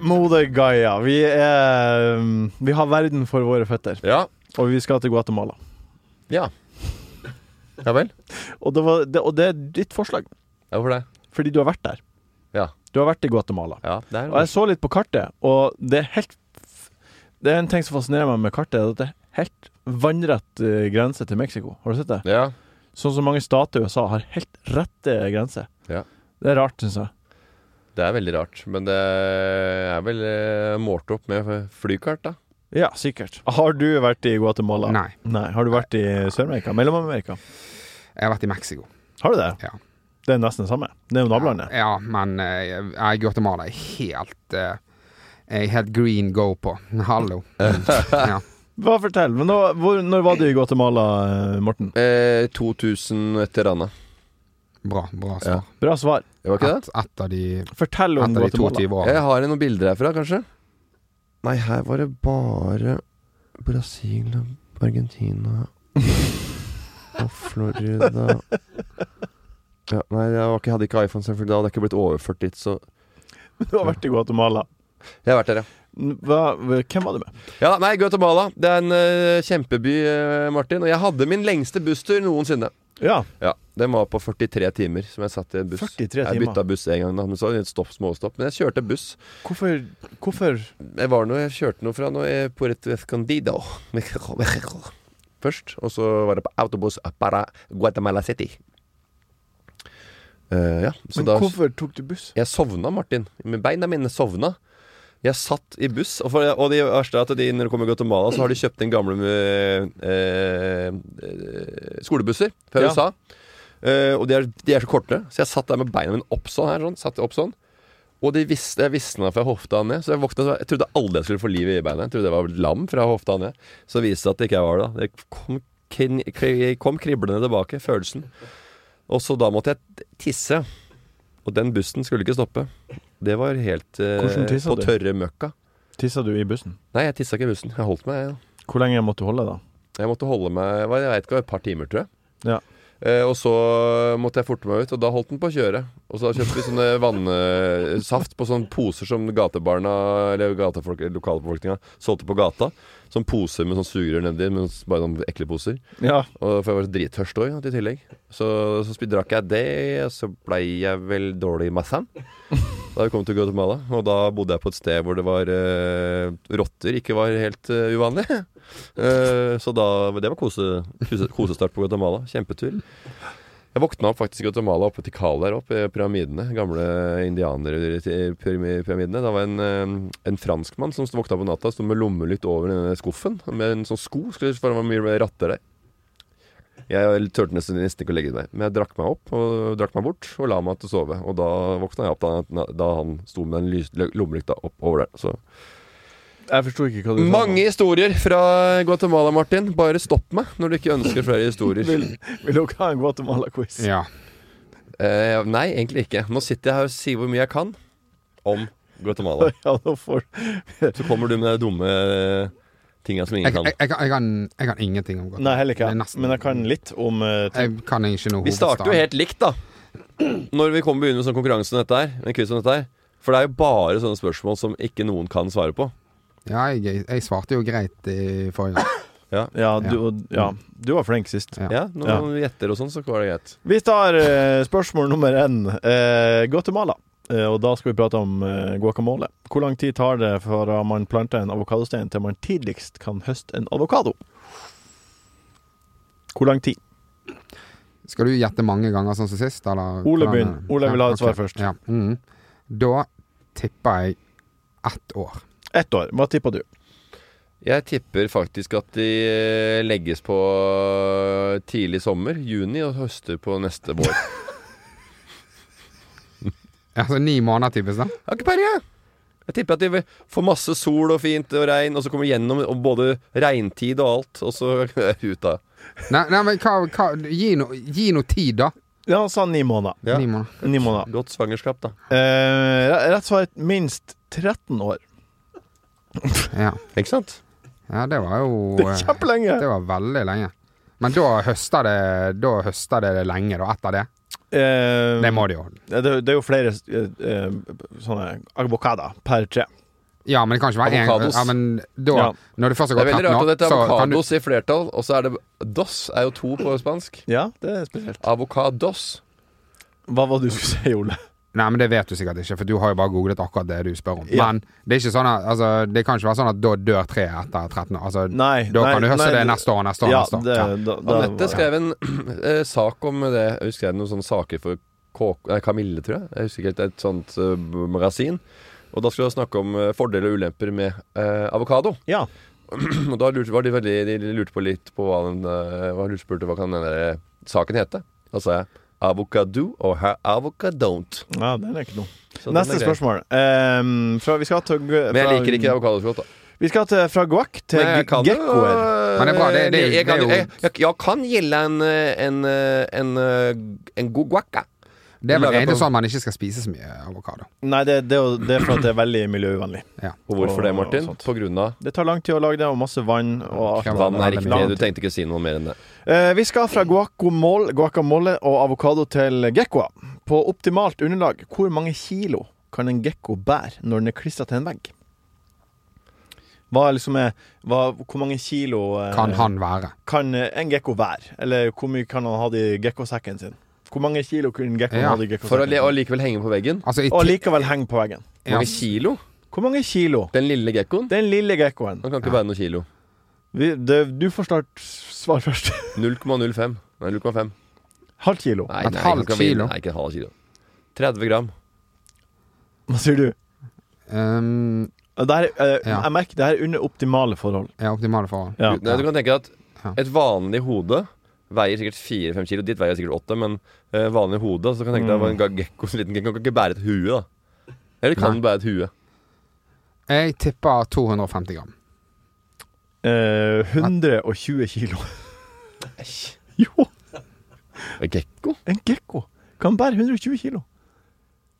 Moder Gaia. Vi er um, Vi har verden for våre føtter, Ja. og vi skal til Guatemala. Ja. Ja vel? Og det, var, det, og det er ditt forslag, Ja, Hvorfor det? fordi du har vært der. Ja. Du har vært i Guatemala. Ja, det er Og jeg så litt på kartet, og det er helt Det er en ting som fascinerer meg med kartet, er at det er helt vannrett eh, grense til Mexico. Har du sett det? Ja. Sånn som mange stater i USA har helt rette grenser. Ja. Det er rart, syns jeg. Det er veldig rart, men det er vel eh, målt opp med flykart, da. Ja, sikkert. Har du vært i Guatemala? Nei. Har du vært i Sør-Amerika? Mellom-Amerika? Jeg har vært i Mexico. Har du det? Ja. Det er nesten det samme. Det er jo nabolandet. Ja, men eh, jeg jeg i Guatemala er helt eh, Jeg er helt green go på. Hallo. ja. Hva fortell? Men nå, hvor, når var du i Guatemala, eh, Morten? Eh, 2000 etter Rana. Bra, bra Ja. svar. Bra svar. Det var ikke det? Et, et av de, Fortell om et av de Guatemala. 22 årene. Jeg har noen bilder herfra, kanskje? Nei, her var det bare Brasil, Argentina og Florida ja, Nei, jeg var ikke, hadde ikke iPhone, selvfølgelig. Da hadde jeg ikke blitt overført dit, så Du har vært i Guatemala. Jeg har vært der, ja. Hva, hvem var du med? Ja, Nei, Guatemala. Det er en eh, kjempeby, eh, Martin. Og jeg hadde min lengste busstur noensinne. Ja. Ja, Den var på 43 timer, som jeg satt i en buss. 43 Jeg timer. bytta buss en gang, da, men så var det et stopp, småstopp. Men jeg kjørte buss. Hvorfor, hvorfor Jeg var noe, jeg kjørte noe fra noe eh, Puerto Escondido Mexico, Mexico. Først, og så var det på autobuss para Guatemala City Eh, Ja, så Men da hvorfor tok du buss? Jeg sovna, Martin Med beina mine sovna Jeg satt i buss Og, for, og det verste er at de, når du kommer i Guatemala Så har de kjøpt inn gamle eh, eh, eh, skolebusser Fra Ja. USA Eh, Og de er, de er så korte Så jeg satt der med beina mine opp sånn her sånn, Satt opp sånn og de visste, jeg visna fra hofta ned, så jeg våkna så Jeg trodde aldri jeg skulle få liv i beinet. Jeg trodde jeg var lam fra hofta ned. Så viste det at det ikke jeg var det. da. Det kom, kn- kri- kom kriblende tilbake, følelsen. Og så da måtte jeg tisse. Og den bussen skulle ikke stoppe. Det var helt eh, Hvordan tissa på du? tørre møkka. Tissa du i bussen? Nei, jeg tissa ikke i bussen. Jeg holdt meg. Jeg, Hvor lenge måtte du holde, da? jeg måtte holde meg jeg vet ikke, et par timer, tror jeg. Ja. Eh, og så måtte jeg forte meg ut, og da holdt den på å kjøre. Og så kjøpte vi sånne vannsaft på sånne poser som gatebarna, eller gatefolk, lokalbefolkninga, solgte på gata. Sånn poser med sånn sugerør nedi, men s- bare sånne ekle poser. Ja. Og for jeg var så drittørst òg, i tillegg. Så, så spi- drakk jeg det, og så blei jeg vel dårlig i massen. Da vi kom til Guatemala, og da bodde jeg på et sted hvor det var eh, rotter ikke var helt eh, uvanlig. Eh, så da Det var kose, kose, kosestart på Guatemala. Kjempetur. Jeg våkna opp faktisk i Guatemala oppe til Cala der oppe, eh, pyramidene. Gamle indianere til pyrami- pyramidene. Det var en, eh, en franskmann som våkna opp på natta, sto med lommelykt over denne skuffen. Med en sånn sko, skulle for det var mye ratter der. Jeg turte nesten, nesten ikke å legge meg, men jeg drakk meg opp og drakk meg bort og la meg til å sove. Og da våkna jeg opp da, da han sto med den lys- lø- lommelykta opp over der. Så Jeg forsto ikke hva du sa. Mange historier fra Guatemala, Martin. Bare stopp meg når du ikke ønsker flere historier. Vil, vil dere ha en Guatemala-quiz? Ja. Eh, nei, egentlig ikke. Nå sitter jeg her og sier hvor mye jeg kan om Guatemala. Ja, da får Så kommer du med de dumme eh, tinga som ingen Jeg, kan. jeg, jeg, kan- jeg, kan, jeg kan ingenting om godt. Nei, heller ikke. Det er nesten- Men jeg kan litt om eh, ting. Jeg kan ikke noe Vi starter jo helt likt, da. Når vi kommer begynner med sånn konkurranse som dette her, en quiz som dette her. For det er jo bare sånne spørsmål som ikke noen kan svare på. Ja, jeg, jeg svarte jo greit i forrige gang. Ja, du, og- ja, du var flink sist. Ja. Ja, Når Ja. man gjetter og sånn, så går det greit. Vi tar eh, spørsmål nummer én. Eh, Guatemala. Eh, og da skal vi prate om eh, guacamole. Hvor lang tid tar det fra man planter en avokadostein til man tidligst kan høste en avokado? Hvor lang tid? Skal du gjette mange ganger sånn som sist, eller? Ole hvordan- begynner. Ole vil ha et Ja, svar ok. først. Ja. mhm. Da tipper jeg ett år. Ett år. Hva tipper du? Jeg tipper faktisk at de eh, legges på tidlig sommer, juni, og høster på neste vår. Jeg Altså ni måneder, typisk. da har ikke peiling, jeg. Jeg tipper at de vil- får masse sol og fint og regn, og så kommer gjennom og både regntid og alt, og så er det ut da. Nei, nei men hva, hva gi, no, gi noe tid, da. Ja, han sa ni måneder. Ja. Ni måneder. Ni måneder. Godt svangerskap, da. Eh, re- rett svar er minst 13 år. Ja. Ikke sant? ja, det var jo eh, Det er kjempelenge! Det var veldig lenge. Men da høster det Da høster det lenge, da, etter det. Eh, Det må det jo. det, det er jo flere eh, eh, sånne avokader per tre. Ja, men det kan ikke være én Avokados. ja, men da, Ja. Når det først Det har er veldig rart gått 13 at år, dette er så kan du avokados i flertall, og så er det dos, er jo to på spansk. Ja, det er spesielt. Avokados. Hva var det du skulle si, Ole? Nei, men det vet du sikkert ikke, for du har jo bare googlet akkurat det du spør om. Ja. Men det er ikke sånn at altså, Det kan ikke være sånn at da dør treet etter 13 år. Altså, Nei, da nei, kan du høste nei, det du- neste år, neste år, ja, neste år. det, Ja. da, da, Anette skrev en eh, sak om det. Hun skrev noen sånne saker for Kåk, nei, Kamille, tror jeg. Jeg husker ikke helt. Et sånt eh, magasin. Og da skulle hun snakke om eh, fordeler og ulemper med eh, avokado. Ja. Og da lurte, var de, veldig, de lurte på litt på hva den eh, hva lurte spurte, hva kan den der eh, saken hete. Da sa jeg avokado og her avokadont. ja, den er ikke noe. Så den Neste er grei. spørsmål. Ehm, fra, vi skal til fra, Men jeg liker ikke avokado så godt, da. Vi skal til fra guac til Men jeg kan jo, gekkoer. øh, Men det er bra, det- det er jo- jeg, kan, det er jo- jeg, jeg, jeg kan gjelde en, øh, en, øh, en, øh, en god guacca. Det er vel Lager egentlig på- sånn man ikke skal spise så mye avokado. Nei, det, det, er jo- det er for at det er veldig miljøvennlig. Og hvorfor det, Og- og Martin? sånt. På grunn av Det tar lang tid å lage det, og masse vann. Og alt. vann er veldig riktig. mye. Du tenkte ikke å si noe mer enn det. Eh, vi skal fra guacamole, guacamole og avokado til gekkoer. På optimalt underlag, hvor mange kilo kan en gekko bære når den er klistra til en vegg? Hva er liksom er hva, Hvor mange kilo eh, Kan han være. kan eh, en gekko hver? Eller hvor mye kan han ha det i gekkosekken sin? Hvor mange kilo kunne gekkoen Ja, ha det i For å gekkosekken? le- sin? og likevel henge på veggen. Altså, i Og ti- likevel henge på veggen. ja, Mange kilo? Hvor mange kilo? Den lille gekkoen? Den lille gekkoen. Han kan ikke bære noe kilo. Vi, det, du får snart svar først. 0,05. Nei, 0,5. Halvt kilo. Nei, Et nei, halvt ikke- kilo? Nei, ikke et halvt kilo. 30 gram. Hva sier du? ehm, Det her, eh, Ja. Jeg merker det her er under optimale forhold. ja, optimale forhold. Ja. Nei, du kan tenke deg Ja. at et vanlig hode veier sikkert 4-5 kilo. Ditt veier sikkert 8, men eh, vanlig hode Så kan du tenke deg Mm. at en gekko, en liten gekko kan ikke bære et hue, da. Eller kan Nei. den bære et hue? Jeg tipper 250 gram. Eh, 120 kilo. Jo, En gekko? en gekko kan bære 120 kilo.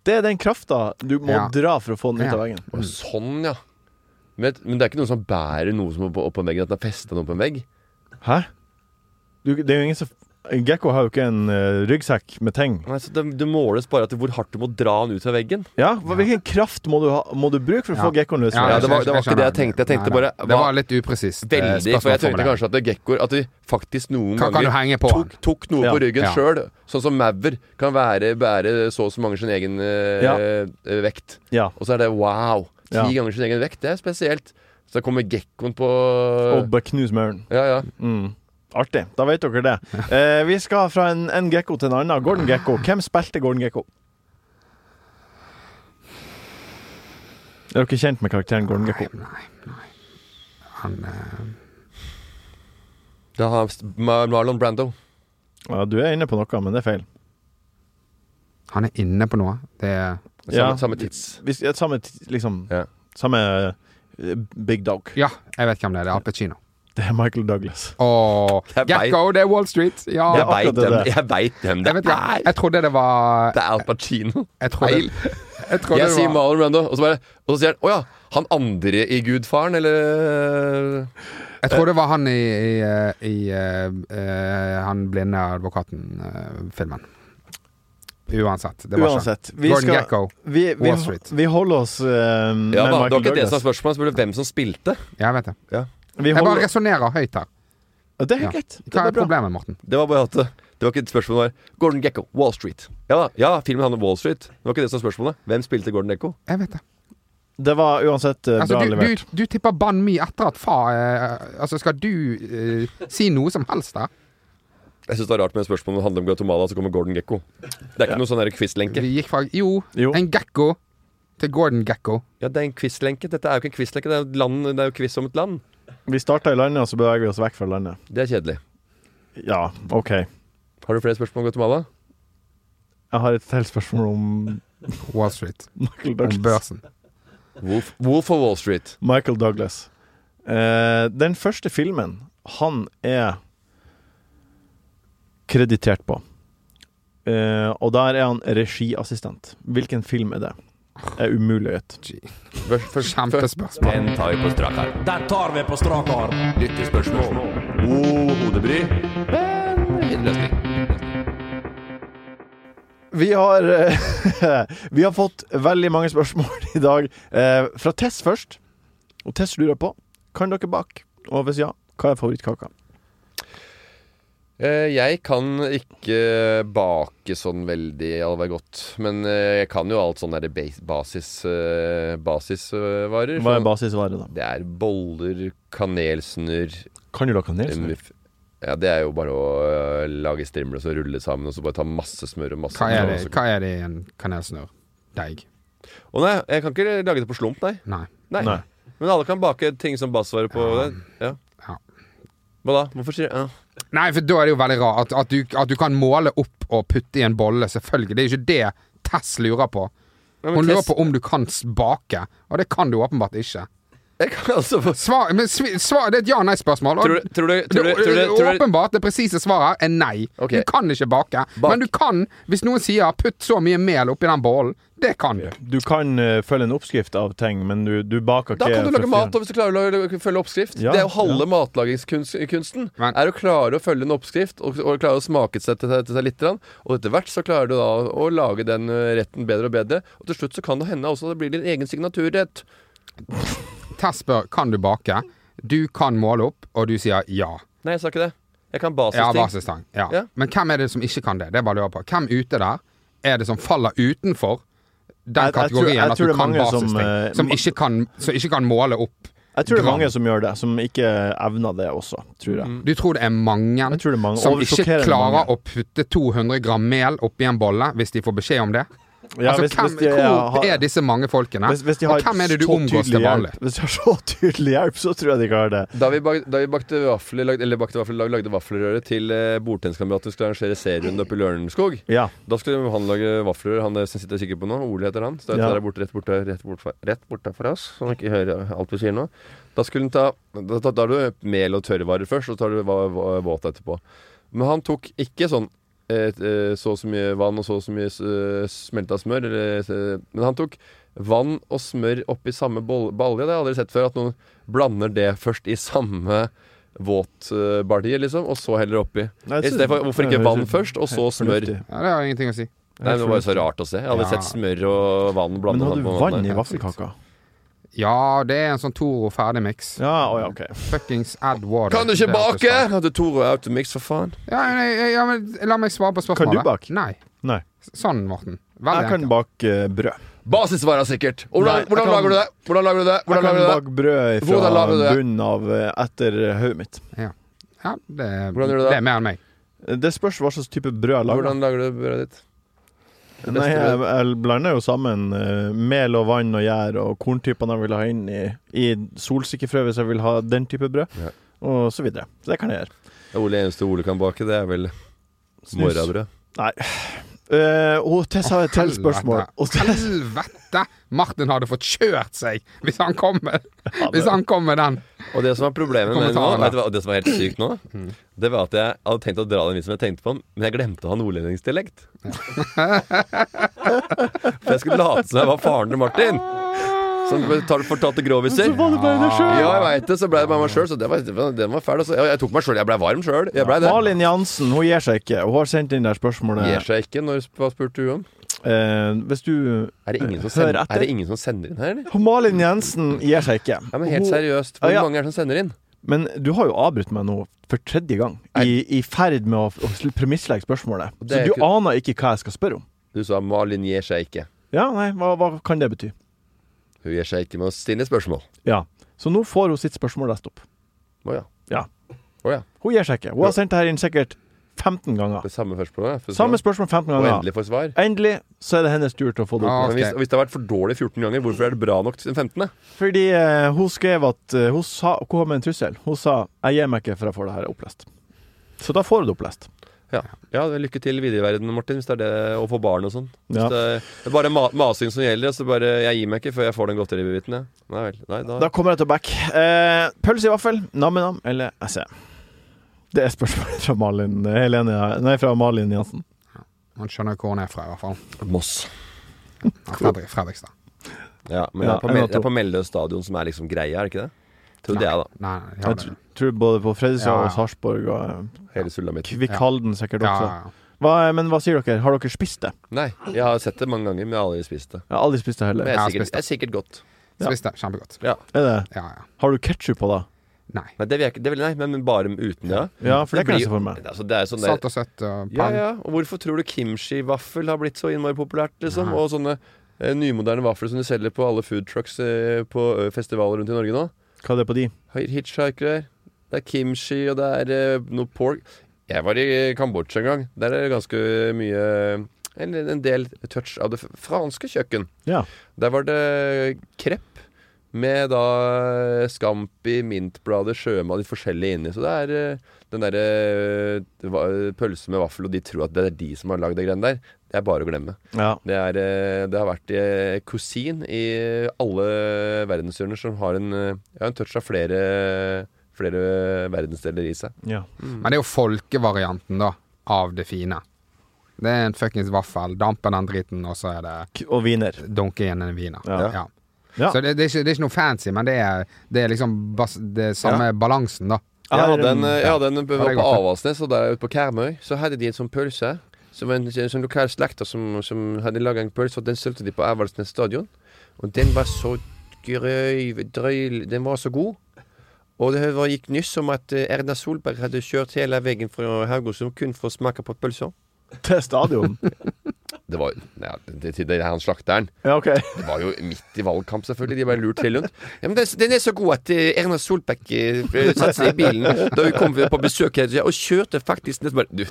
Det er den krafta du må Ja. dra for å få den ut av Ja. veggen. Å, Sånn, ja. Men, men det er ikke noen som bærer noe som er på- oppå veggen, at den er festa noe på en vegg? Hæ? Du, det er jo ingen som En gekko har jo ikke en eh, ryggsekk med ting. Nei, så det, det måles bare etter hvor hardt du må dra den ut av veggen. Ja, hva- Hvilken kraft må du, ha, må du bruke for å Ja. få gekkoen løs? fra Ja, veggen? det var- det var ikke det jeg tenkte. Jeg tenkte Nei, nei. bare, Det hva- var litt upresist. eh, Veldig. For jeg tenkte spørsmålformulering. kanskje at det er gekkoer At de faktisk noen Kan- ganger kan du henge på tok, den? tok noe Ja. på ryggen Ja. sjøl. Sånn som maur kan være, bære så og så mange sin egen eh, Ja. eh, vekt. Ja. Og så er det wow! Ti Ja. ganger sin egen vekt. Det er spesielt. Så kommer gekkoen på Og bare knus mauren. Ja, ja. Mm. Artig. Da vet dere det. Eh, vi skal fra en, en gekko til en annen. Gordon Gekko. Hvem spilte Gordon Gekko? Er dere kjent med karakteren Gordon Gekko? Han, eh, Da har Mar Marlon Brando. Ja, du er inne på noe, men det er feil. han er inne på noe. Det er Samme, Ja. samme tids. Vi, s- samme t- liksom Ja. Samme eh, Big Dog. Ja, jeg vet hvem det er. Det er Al Pacino. Det er Michael Douglas. Og Jeg vet- Gekko, det er Wall Street. Ja. Jeg Jeg, akkurat veit det dem. der. Jeg vet dem det vet ikke. er. Jeg trodde det var Det er Al Pacino. Jeg trodde, Feil. jeg trodde Jeg det sier var Marlon Brando, og så, bare, og så sier han 'Å ja, han andre i Gudfaren', eller Jeg tror det var han i, i, eh, i eh, eh, Han blinde advokaten-filmen. Uansett. Det var Uansett. ikke Gordon Gekko. vi, vi, Wall Street. vi holder oss eh, med Ja, Michael da, det var ikke det Douglas. som var spørsmålet. Jeg spurte hvem som spilte. Ja, jeg vet det. vi Jeg bare holder, resonnerer høyt her. det er helt Ja. greit. Det Hva er er bra. problemet, Morten? Det var bare at det det var ikke et spørsmål. det var Gordon Gekko, Wall Street. Ja da, ja, filmen handler om Wall Street. Det var ikke det som var spørsmålet. Hvem spilte Gordon Gekko? Jeg vet det. Det var uansett eh, Altså, bra du, levert. du, du tipper Ban Mi etter at fa... eh, altså, skal du eh, si noe som helst der? Jeg syns det var rart med et spørsmål om det handler om Guatemala, så kommer Gordon Gekko. Det er ikke noe sånn der quiz-lenke. Vi gikk fra Jo, Jo. en gekko til Gordon Gekko. Ja, det er en quiz-lenke. Dette er jo ikke en quiz-lenke, det er jo et land, det er jo quiz om et land. Vi starta i landet, og så beveger vi oss vekk fra landet. Det er kjedelig. Ja, OK. Har du flere spørsmål om Guatemala? Jeg har et til spørsmål om Wall Street. Michael Om Douglas. børsen. Wolf, Wolf of Wall Street. Michael Douglas. Eh, den første filmen han er kreditert på, eh, og der er han regiassistent. Hvilken film er det? Det er umulig å gjette. Først- først- Kjempespørsmål. Den tar vi på strak arm. Der tar vi på strak arm. Lyttespørsmål. God hodebry. Men løsning. Vi har, eh, vi har fått veldig mange spørsmål i dag. Eh, fra Tess først. Og Tess lurer på Kan dere bake. Og hvis ja, hva er favorittkaka? Eh, Jeg kan ikke bake sånn veldig all vei godt. Men eh, jeg kan jo alt sånn derre bas- basis, eh, basisvarer. Hva er Sånn- basisvaret, da? Det er boller, kanelsnurr Kan du lage kanelsnurr? muff- ja, Det er jo bare å eh, lage strimler og så rulle det sammen, og så bare ta masse smør og masse Hva er det, og så- hva er det i en kanelsnurr? Deig? Å nei, jeg kan ikke lage det på slump, nei. Nei. nei. Nei. Men alle kan bake ting som basisvare på Ja. det. Ja. Ja. Hva da? Hvorfor sier du ja. Nei, for da er det jo veldig rart at, at, du, at du kan måle opp og putte i en bolle, selvfølgelig. Det er jo ikke det Tess lurer på. Ja, men Hun lurer Tess- på om du kan s- bake, og det kan du åpenbart ikke. Jeg kan altså få Svar, men svi- svar, det er et ja-nei-spørsmål. Tror du- tror du- tror du- tror du- tror du- Åpenbart, det presise svaret er nei. Ok. Du kan ikke bake. Bak. Men du kan, hvis noen sier 'putt så mye mel oppi den bollen', det kan du. Du kan eh, følge en oppskrift av ting, men du, du baker Da ikke kan du fra lage mat fjern. og hvis du klarer å lage- følge oppskrift. Ja, det er jo halve ja. matlagingskunsten. Men- Er å klare å følge en oppskrift og, og klare å smake seg til, til seg litt. grann. Og etter hvert så klarer du da å lage den ø, retten bedre og bedre. Og til slutt så kan det hende også at det blir din egen signaturrett. Tess spør 'kan du bake'? Du kan måle opp, og du sier ja. Nei, jeg sa ikke det. Jeg kan Ja, basisting. basistang. Ja. Ja. Men hvem er det som ikke kan det? Det er bare å lure på. Hvem ute der er det som faller utenfor den Jeg- jeg tror- kategorien jeg at tror du det er kan mange som, basisting? Som, eh, ma- ikke kan, som ikke kan måle opp? Jeg tror det er Gran. mange som gjør det, som ikke evner det også, tror jeg. Du tror det er mange, Jeg tror det er mange som og ikke sjokkerende klarer mange. å putte 200 gram mel oppi en bolle hvis de får beskjed om det? Ja, altså, hvis- hvem, hvis de, Hvor ja, har- er disse mange folkene? Hvis, hvis de har og hvem er det du så omgås tydelig til vanlig? hjelp- Hvis de har så tydelig hjelp, så tror jeg de klarer det. Da vi, bak, da vi bakte vafler, lagde, eller bakte vafler, da vi lagde vaffelrøre til eh, bordtenniskameraten vi skulle arrangere serierunde oppe i Lørenskog, Ja. da skulle han lage vafler, han der som sitter og kikker på nå, Ole heter han. Står Ja. der borte, rett borte, rett borte, rett borte for oss, så han ikke hører alt vi sier nå. Da skulle han ta Da da tar du mel og tørrvarer først, og så tar du va- va- våt etterpå. Men han tok ikke sånn eh, eh, så og så mye vann og så og så mye eh, smelta smør, eller eh, Men han tok vann og smør oppi samme boll- balje. Det har jeg aldri sett før, at noen blander det først i samme våtbalje, liksom, og så heller oppi. Nei, I jeg synes- stedet for hvorfor det ikke høres vann ut- først, og så helt smør? fornuftig. Ja, det har ingenting å si. Nei, men Det var jo så fornuftig. rart å se. Jeg hadde Ja. sett smør og vann Men blanda hadde du vann i vaffelkaka? Ja, det er en sånn Toro ferdigmiks. Ja, å ja, OK. Fuckings add water. Kan du ikke Det er alt det bake?! står. Hadde Toro Automix, for faen. Ja, men- ja, men La meg svare på spørsmålet. Kan du bake? Nei. Nei. Sånn, Morten. Jeg Veldig kan enkelt. bake eh, brød. Basisvara, sikkert. Nei, Hvordan, jeg hvordan kan- lager du det? Hvordan lager du det? Jeg Hvordan kan lager du det? bake brød Hvordan fra lager du det? bunnen av eh, etter hodet mitt. Ja, det, Hvordan gjør du det? det? er mer enn meg. Det spørs hva slags type brød jeg lager. Hvordan lager du brødet ditt? Det Nei, beste jeg, brødet? jeg blander jo sammen eh, mel og vann og gjær og korntypene jeg vil ha inn i, i solsikkefrø hvis jeg vil ha den type brød, Ja. og så videre. Så det kan jeg gjøre. Det Ole eneste Ole kan bake, det er vel Snus. morrabrød. Nei, Eh, og til, sa jeg til Helvete. spørsmål. Og til, Helvete! Martin hadde fått kjørt seg hvis han kom med, hvis han kom med den. Og det som var problemet med den nå, Kommentarene. vet du hva, og det som var helt sykt nå, det var at jeg hadde tenkt å dra den vitsen jeg tenkte på den, men jeg glemte å ha nordlendingsdialekt. For jeg skulle late som jeg var faren til Martin. Som tar- fortalte gråviser. Så var det bare deg sjøl? Ja, jeg veit det. Så ble det bare meg sjøl. Så det var, det var, den var fæl. Altså. Jeg, jeg tok meg sjøl. Jeg blei varm sjøl. Jeg blei det. Malin Jansen hun gir seg ikke. Hun har sendt inn det spørsmålet. Gir seg ikke. Når, hva spurte du om? Eh, hvis du Er det ingen som Hør sender, etter. er det ingen som sender inn her, eller? Hun Malin Jensen gir seg ikke. Ja, men helt Hun- seriøst. Hvor Ja, ja. mange er det som sender inn? Men du har jo avbrutt meg nå for tredje gang. I, i ferd med å, å sl- premisslegge spørsmålet. Det Så er du ikke- aner ikke hva jeg skal spørre om. Du sa Malin gir seg ikke. Ja, nei, hva, hva kan det bety? Hun gir seg ikke med å stille spørsmål. Ja. Så nå får hun sitt spørsmål lest opp. Å ja. Ja. Å ja. Hun gir seg ikke. Hun har sendt det her inn sikkert 15 ganger. Det samme spørsmålet. for- Samme spørsmål 15 Og ganger. endelig får svar. Endelig så er det hennes tur til å få det opp. Ah, Men hvis, ok. hvis det har vært for dårlig 14 ganger, hvorfor er det bra nok til den 15.? Fordi eh, hun skrev at eh, hun, sa, hun kom med en trussel. Hun sa 'jeg gir meg ikke før jeg får det her opplest'. Så da får hun det opplest. Ja, ja det er lykke til videre i verden, Martin, hvis det er det å få barn og sånn. Hvis Ja. Det, det er bare ma masing som gjelder, så bare jeg gir meg ikke før jeg får den godteribiten. Ja. Nei vel. Nei, da. Da kommer jeg til back. Eh, pølse i vaffel, nam-nam eller SE? Det er spørsmålet fra Malin eh, Helene Nei, fra Malin Jansen. Han skjønner hvor han er fra, i hvert fall. Moss. Ja, Fredrik, Fredrikstad. Ja, men Ja, det er på, en Mel- av to. det er på Meløy stadion som er liksom greia, er det ikke det? Trodde jeg, da. Nei, nei, ja, Jeg det, tr- tror både på Fredrikstad Ja, ja. og Sarpsborg og eh, Hele sulamitten. Kvikk Halden sikkert ja, også. ja, ja. Hva, men hva sier dere? Har dere spist det? Nei, jeg har sett det mange ganger, men jeg har aldri spist det. Jeg har aldri spist det heller. Men jeg Ja, er sikkert, spist det. jeg er sikkert godt. Ja. Spiste kjempegodt. Ja. Er det? Ja, ja. Har du ketsjup på da? Nei. Nei, det vil jeg ikke. Det vil, nei, men bare uten Mm. det. Ja, for det, kan jeg blir se jo- for meg. Altså, det er sånn der, Salt og søtt og Ja, pang. ja. Og hvorfor tror du kimchi-vaffel har blitt så innmari populært, liksom? Og sånne eh, nymoderne vafler som de selger på alle food trucks eh, på eh, festivaler rundt i Norge nå. Hva er det på de? Hi- Hitchhiker her. Det er kimchi, og det er eh, noe pork. Jeg var i eh, Kambodsja en gang. Der er det ganske mye Eller en del touch av det f- franske kjøkken. Ja. Der var det krepp med da eh, scampi, mintblader, sjømat, litt forskjellig inni. Så det er eh, den derre eh, det var- pølse med vaffel, og de tror at det er de som har lagd de greiene der. Det er bare å glemme. ja. Det, er, eh, det har vært eh, kusin i alle verdenshjørner som har en, eh, ja, en touch av flere, flere verdensdeler i seg. ja. Men det er jo folkevarianten, da, av det fine. Det er en fuckings vaffel. Damper den driten, og så er det K- Og wiener. dunke inn en wiener. Ja. Ja. Ja. Så det, det, er ikke, det er ikke noe fancy, men det er, det er liksom bas, det er samme balansen, da. Jeg Er- hadde en, eh, jeg hadde en jeg Ja, var det er på godt, Avaldsnes, og der ute på Karmøy så hadde de en sånn pølse. Som var en, en sånn lokal slekter som, som hadde laga en pølse, og den solgte de på Avaldsnes stadion. Og den var så grøy, drøy Den var så god. Og det var, gikk nyss om at eh, Erna Solberg hadde kjørt hele veien fra Haugesund kun for å smake på pølser. Til stadion. Det var ja, til, til det han slakteren. Ja, OK. Det var jo midt i valgkamp, selvfølgelig. De ble lurt til rundt. Ja, men den, den er så god at eh, Erna Solberg eh, satte seg i bilen da hun kom på besøk her og kjørte faktisk nesten bare du,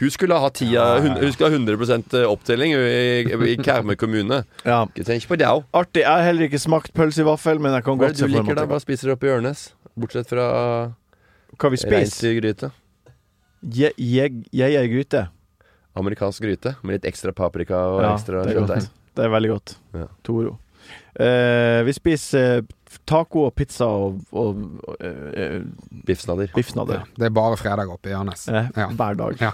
Hun skulle ha tida, hun, hun skulle ha 100 opptelling i, i Karmøy kommune. Ja. Ikke tenk på det òg. Artig. Jeg har heller ikke smakt pølse i vaffel, men jeg kan Hva er godt det du se for liker meg da? at Hva spiser du oppe i Ørnes? Bortsett fra jeg- Hva vi spiser? reinsdyrgryte. Jeg gir gryte. Amerikansk gryte med litt ekstra paprika og Ja, ekstra det er kjøttdeig. godt. Det er veldig godt. Ja. Toro. Eh, vi spiser taco og pizza og, og, og eh, Biffsnadder. biffsnadder Det er bare fredag oppe i Ørnes. eh, Ja. hver dag. Ja.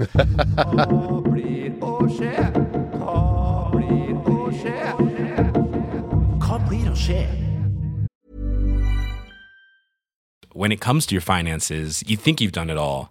When it comes to your finances, you think you've done it all.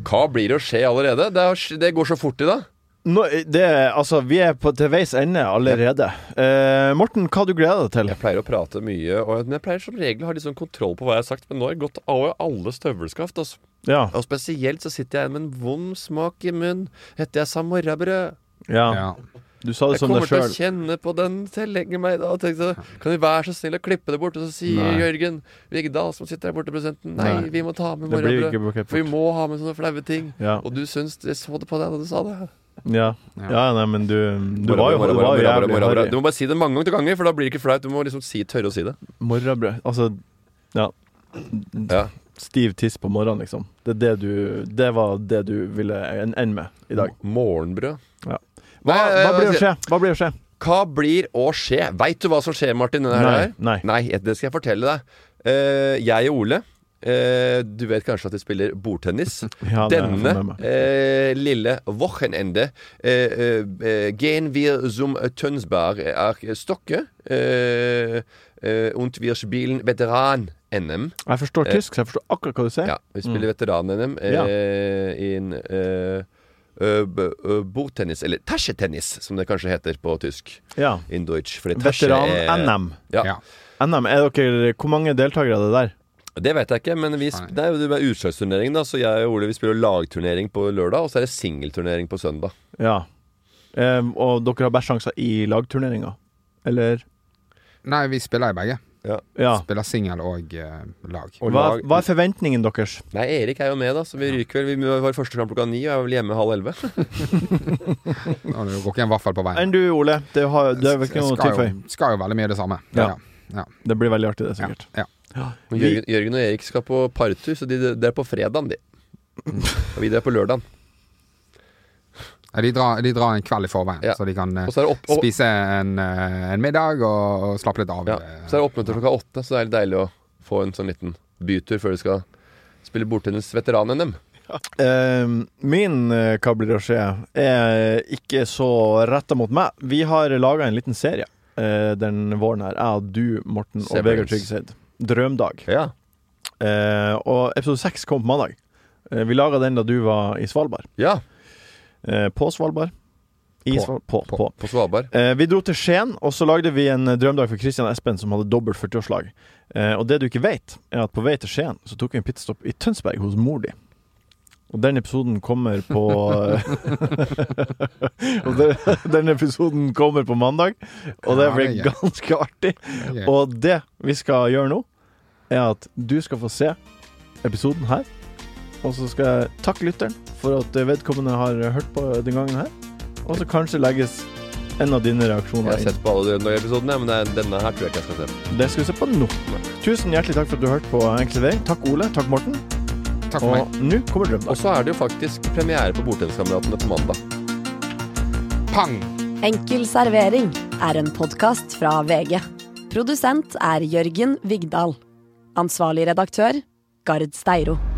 Hva blir det å skje allerede? Det, har sk- det går så fort i dag. Nå, det, altså, vi er på, til veis ende allerede. Eh, Morten, hva du gleder deg til? Jeg pleier å prate mye, og men jeg pleier som regel å ha litt sånn kontroll på hva jeg har sagt, men nå har jeg gått av alle støvelskaft. Altså. Ja. Og spesielt så sitter jeg igjen med en vond smak i munnen etter jeg sa morrabrød. ja. Ja. Du sa sånn det Jeg som deg kommer til å sjøl. kjenne på den til jeg legger meg da. Tenkte, kan vi være så snill å klippe det bort? Og så sier Nei. Jørgen Vigdal, som sitter der borte, produsenten, nei, Nei. vi må ta med Det blir morrabrød. ikke bukett For vi bort. må ha med sånne flaue ting. Ja. Og du syns Jeg så det på deg da du sa det. Ja. ja, nei, men du, du var jo, du var Morrabrød, jo morrabrød, jævlig morrabrød. Du harry. må bare si det mange ganger, ganger, for da blir det ikke flaut. Du må liksom si, tørre å si det. Morrabrød. Altså, ja. Ja. Stiv tiss på morgenen, liksom. Det, er det, du, det var det du ville en- ende med i dag. Morgenbrød. Hva, Nei, hva blir å jeg- skje? Hva blir å skje? Hva blir å skje? Veit du hva som skjer, Martin? denne Nei, her? nei. det skal jeg fortelle deg. Eh, jeg og Ole eh, Du vet kanskje at vi spiller bordtennis. Ja, det har jeg fått Denne med meg. eh, lille Wochenende eh, eh, Gehen wir zum Tønsberg er Stokke eh, eh, und wir spielen Veteran-NM. Jeg forstår tysk, så jeg forstår akkurat hva du sier. Ja, vi spiller veteran-NM eh, Ja. i en eh, ø- b- ø- bordtennis, eller tasjetennis, som det kanskje heter på tysk. Ja. In Deutsch. fordi tasje er- Veteran-NM. Ja. Ja. NM, er dere, Hvor mange deltakere er det der? Det vet jeg ikke, men vi sp det er jo det er utslagsturnering, da. Så jeg og Ole vi spiller lagturnering på lørdag, og så er det singelturnering på søndag. Ja. Ehm, og dere har best sjanser i lagturneringa? Eller? Nei, vi spiller i begge. Ja. Spiller singel og eh, lag. Og Hva, lag- hva er forventningene deres? Nei, Erik er jo med, da, så vi ryker vel. Vi var første kamp klokka ni, og jeg var vel hjemme halv elleve. Og det går ikke en vaffel på veien. Enn du, Ole? Det, har, det er vel ikke Jeg noe å skal tilføye. jo, skal jo veldig mye det samme. Ja. Ja. Det blir veldig artig, det, Ja. sikkert. Ja. Og Jørgen, Jørgen og Erik skal på partur, så de drar på fredagen, de. Og vi drar på lørdagen. Ja, De, drar, de drar en kveld i forveien, Ja. så de kan eh, Og så er det, opp, og, spise en, eh, en middag og, og slappe litt av. ja, eh. så er det oppmøte klokka åtte, så det er litt deilig å få en sånn liten bytur før du skal spille bordtennis veteran-NM. Ehm, min eh, Hva blir å skje? er ikke så retta mot meg. Vi har laga en liten serie eh, den våren her. Jeg og du, Morten og Severance. Vegard Tryggeseid. Drømdag. Ja. Eh, og episode seks kom på mandag. Eh, vi laga den da du var i Svalbard. ja. Eh, på Svalbard. I På. Svalbard. På. på. På Svalbard. Eh, vi dro til Skien, og så lagde vi en eh, drømdag for Christian Espen, som hadde dobbelt 40-årslag. Eh, og det du ikke vet, er at på vei til Skien så tok vi en pitstop i Tønsberg hos mor di. Og den episoden kommer på Og den, den episoden kommer på mandag, og det Ja, blir det er gøy. ganske artig. Ok. Og det vi skal gjøre nå, er at du skal få se episoden her. Og så skal jeg takke lytteren for at vedkommende har hørt på den gangen her. Og så kanskje legges en av dine Jeg reaksjoner har inn. sett på alle Drømdag-episodene, men det er- denne her tror jeg ikke jeg skal se på. Det skal vi se på nå. Tusen hjertelig takk for at du hørte på Enkel vei. Takk Ole, takk Morten. Takk for meg. Og nå kommer drømmen. Og så er det jo faktisk premiere på Bordtenniskameratene på mandag. Pang! Enkel servering er en podkast fra VG. Produsent er Jørgen Vigdal. Ansvarlig redaktør, Gard Steiro.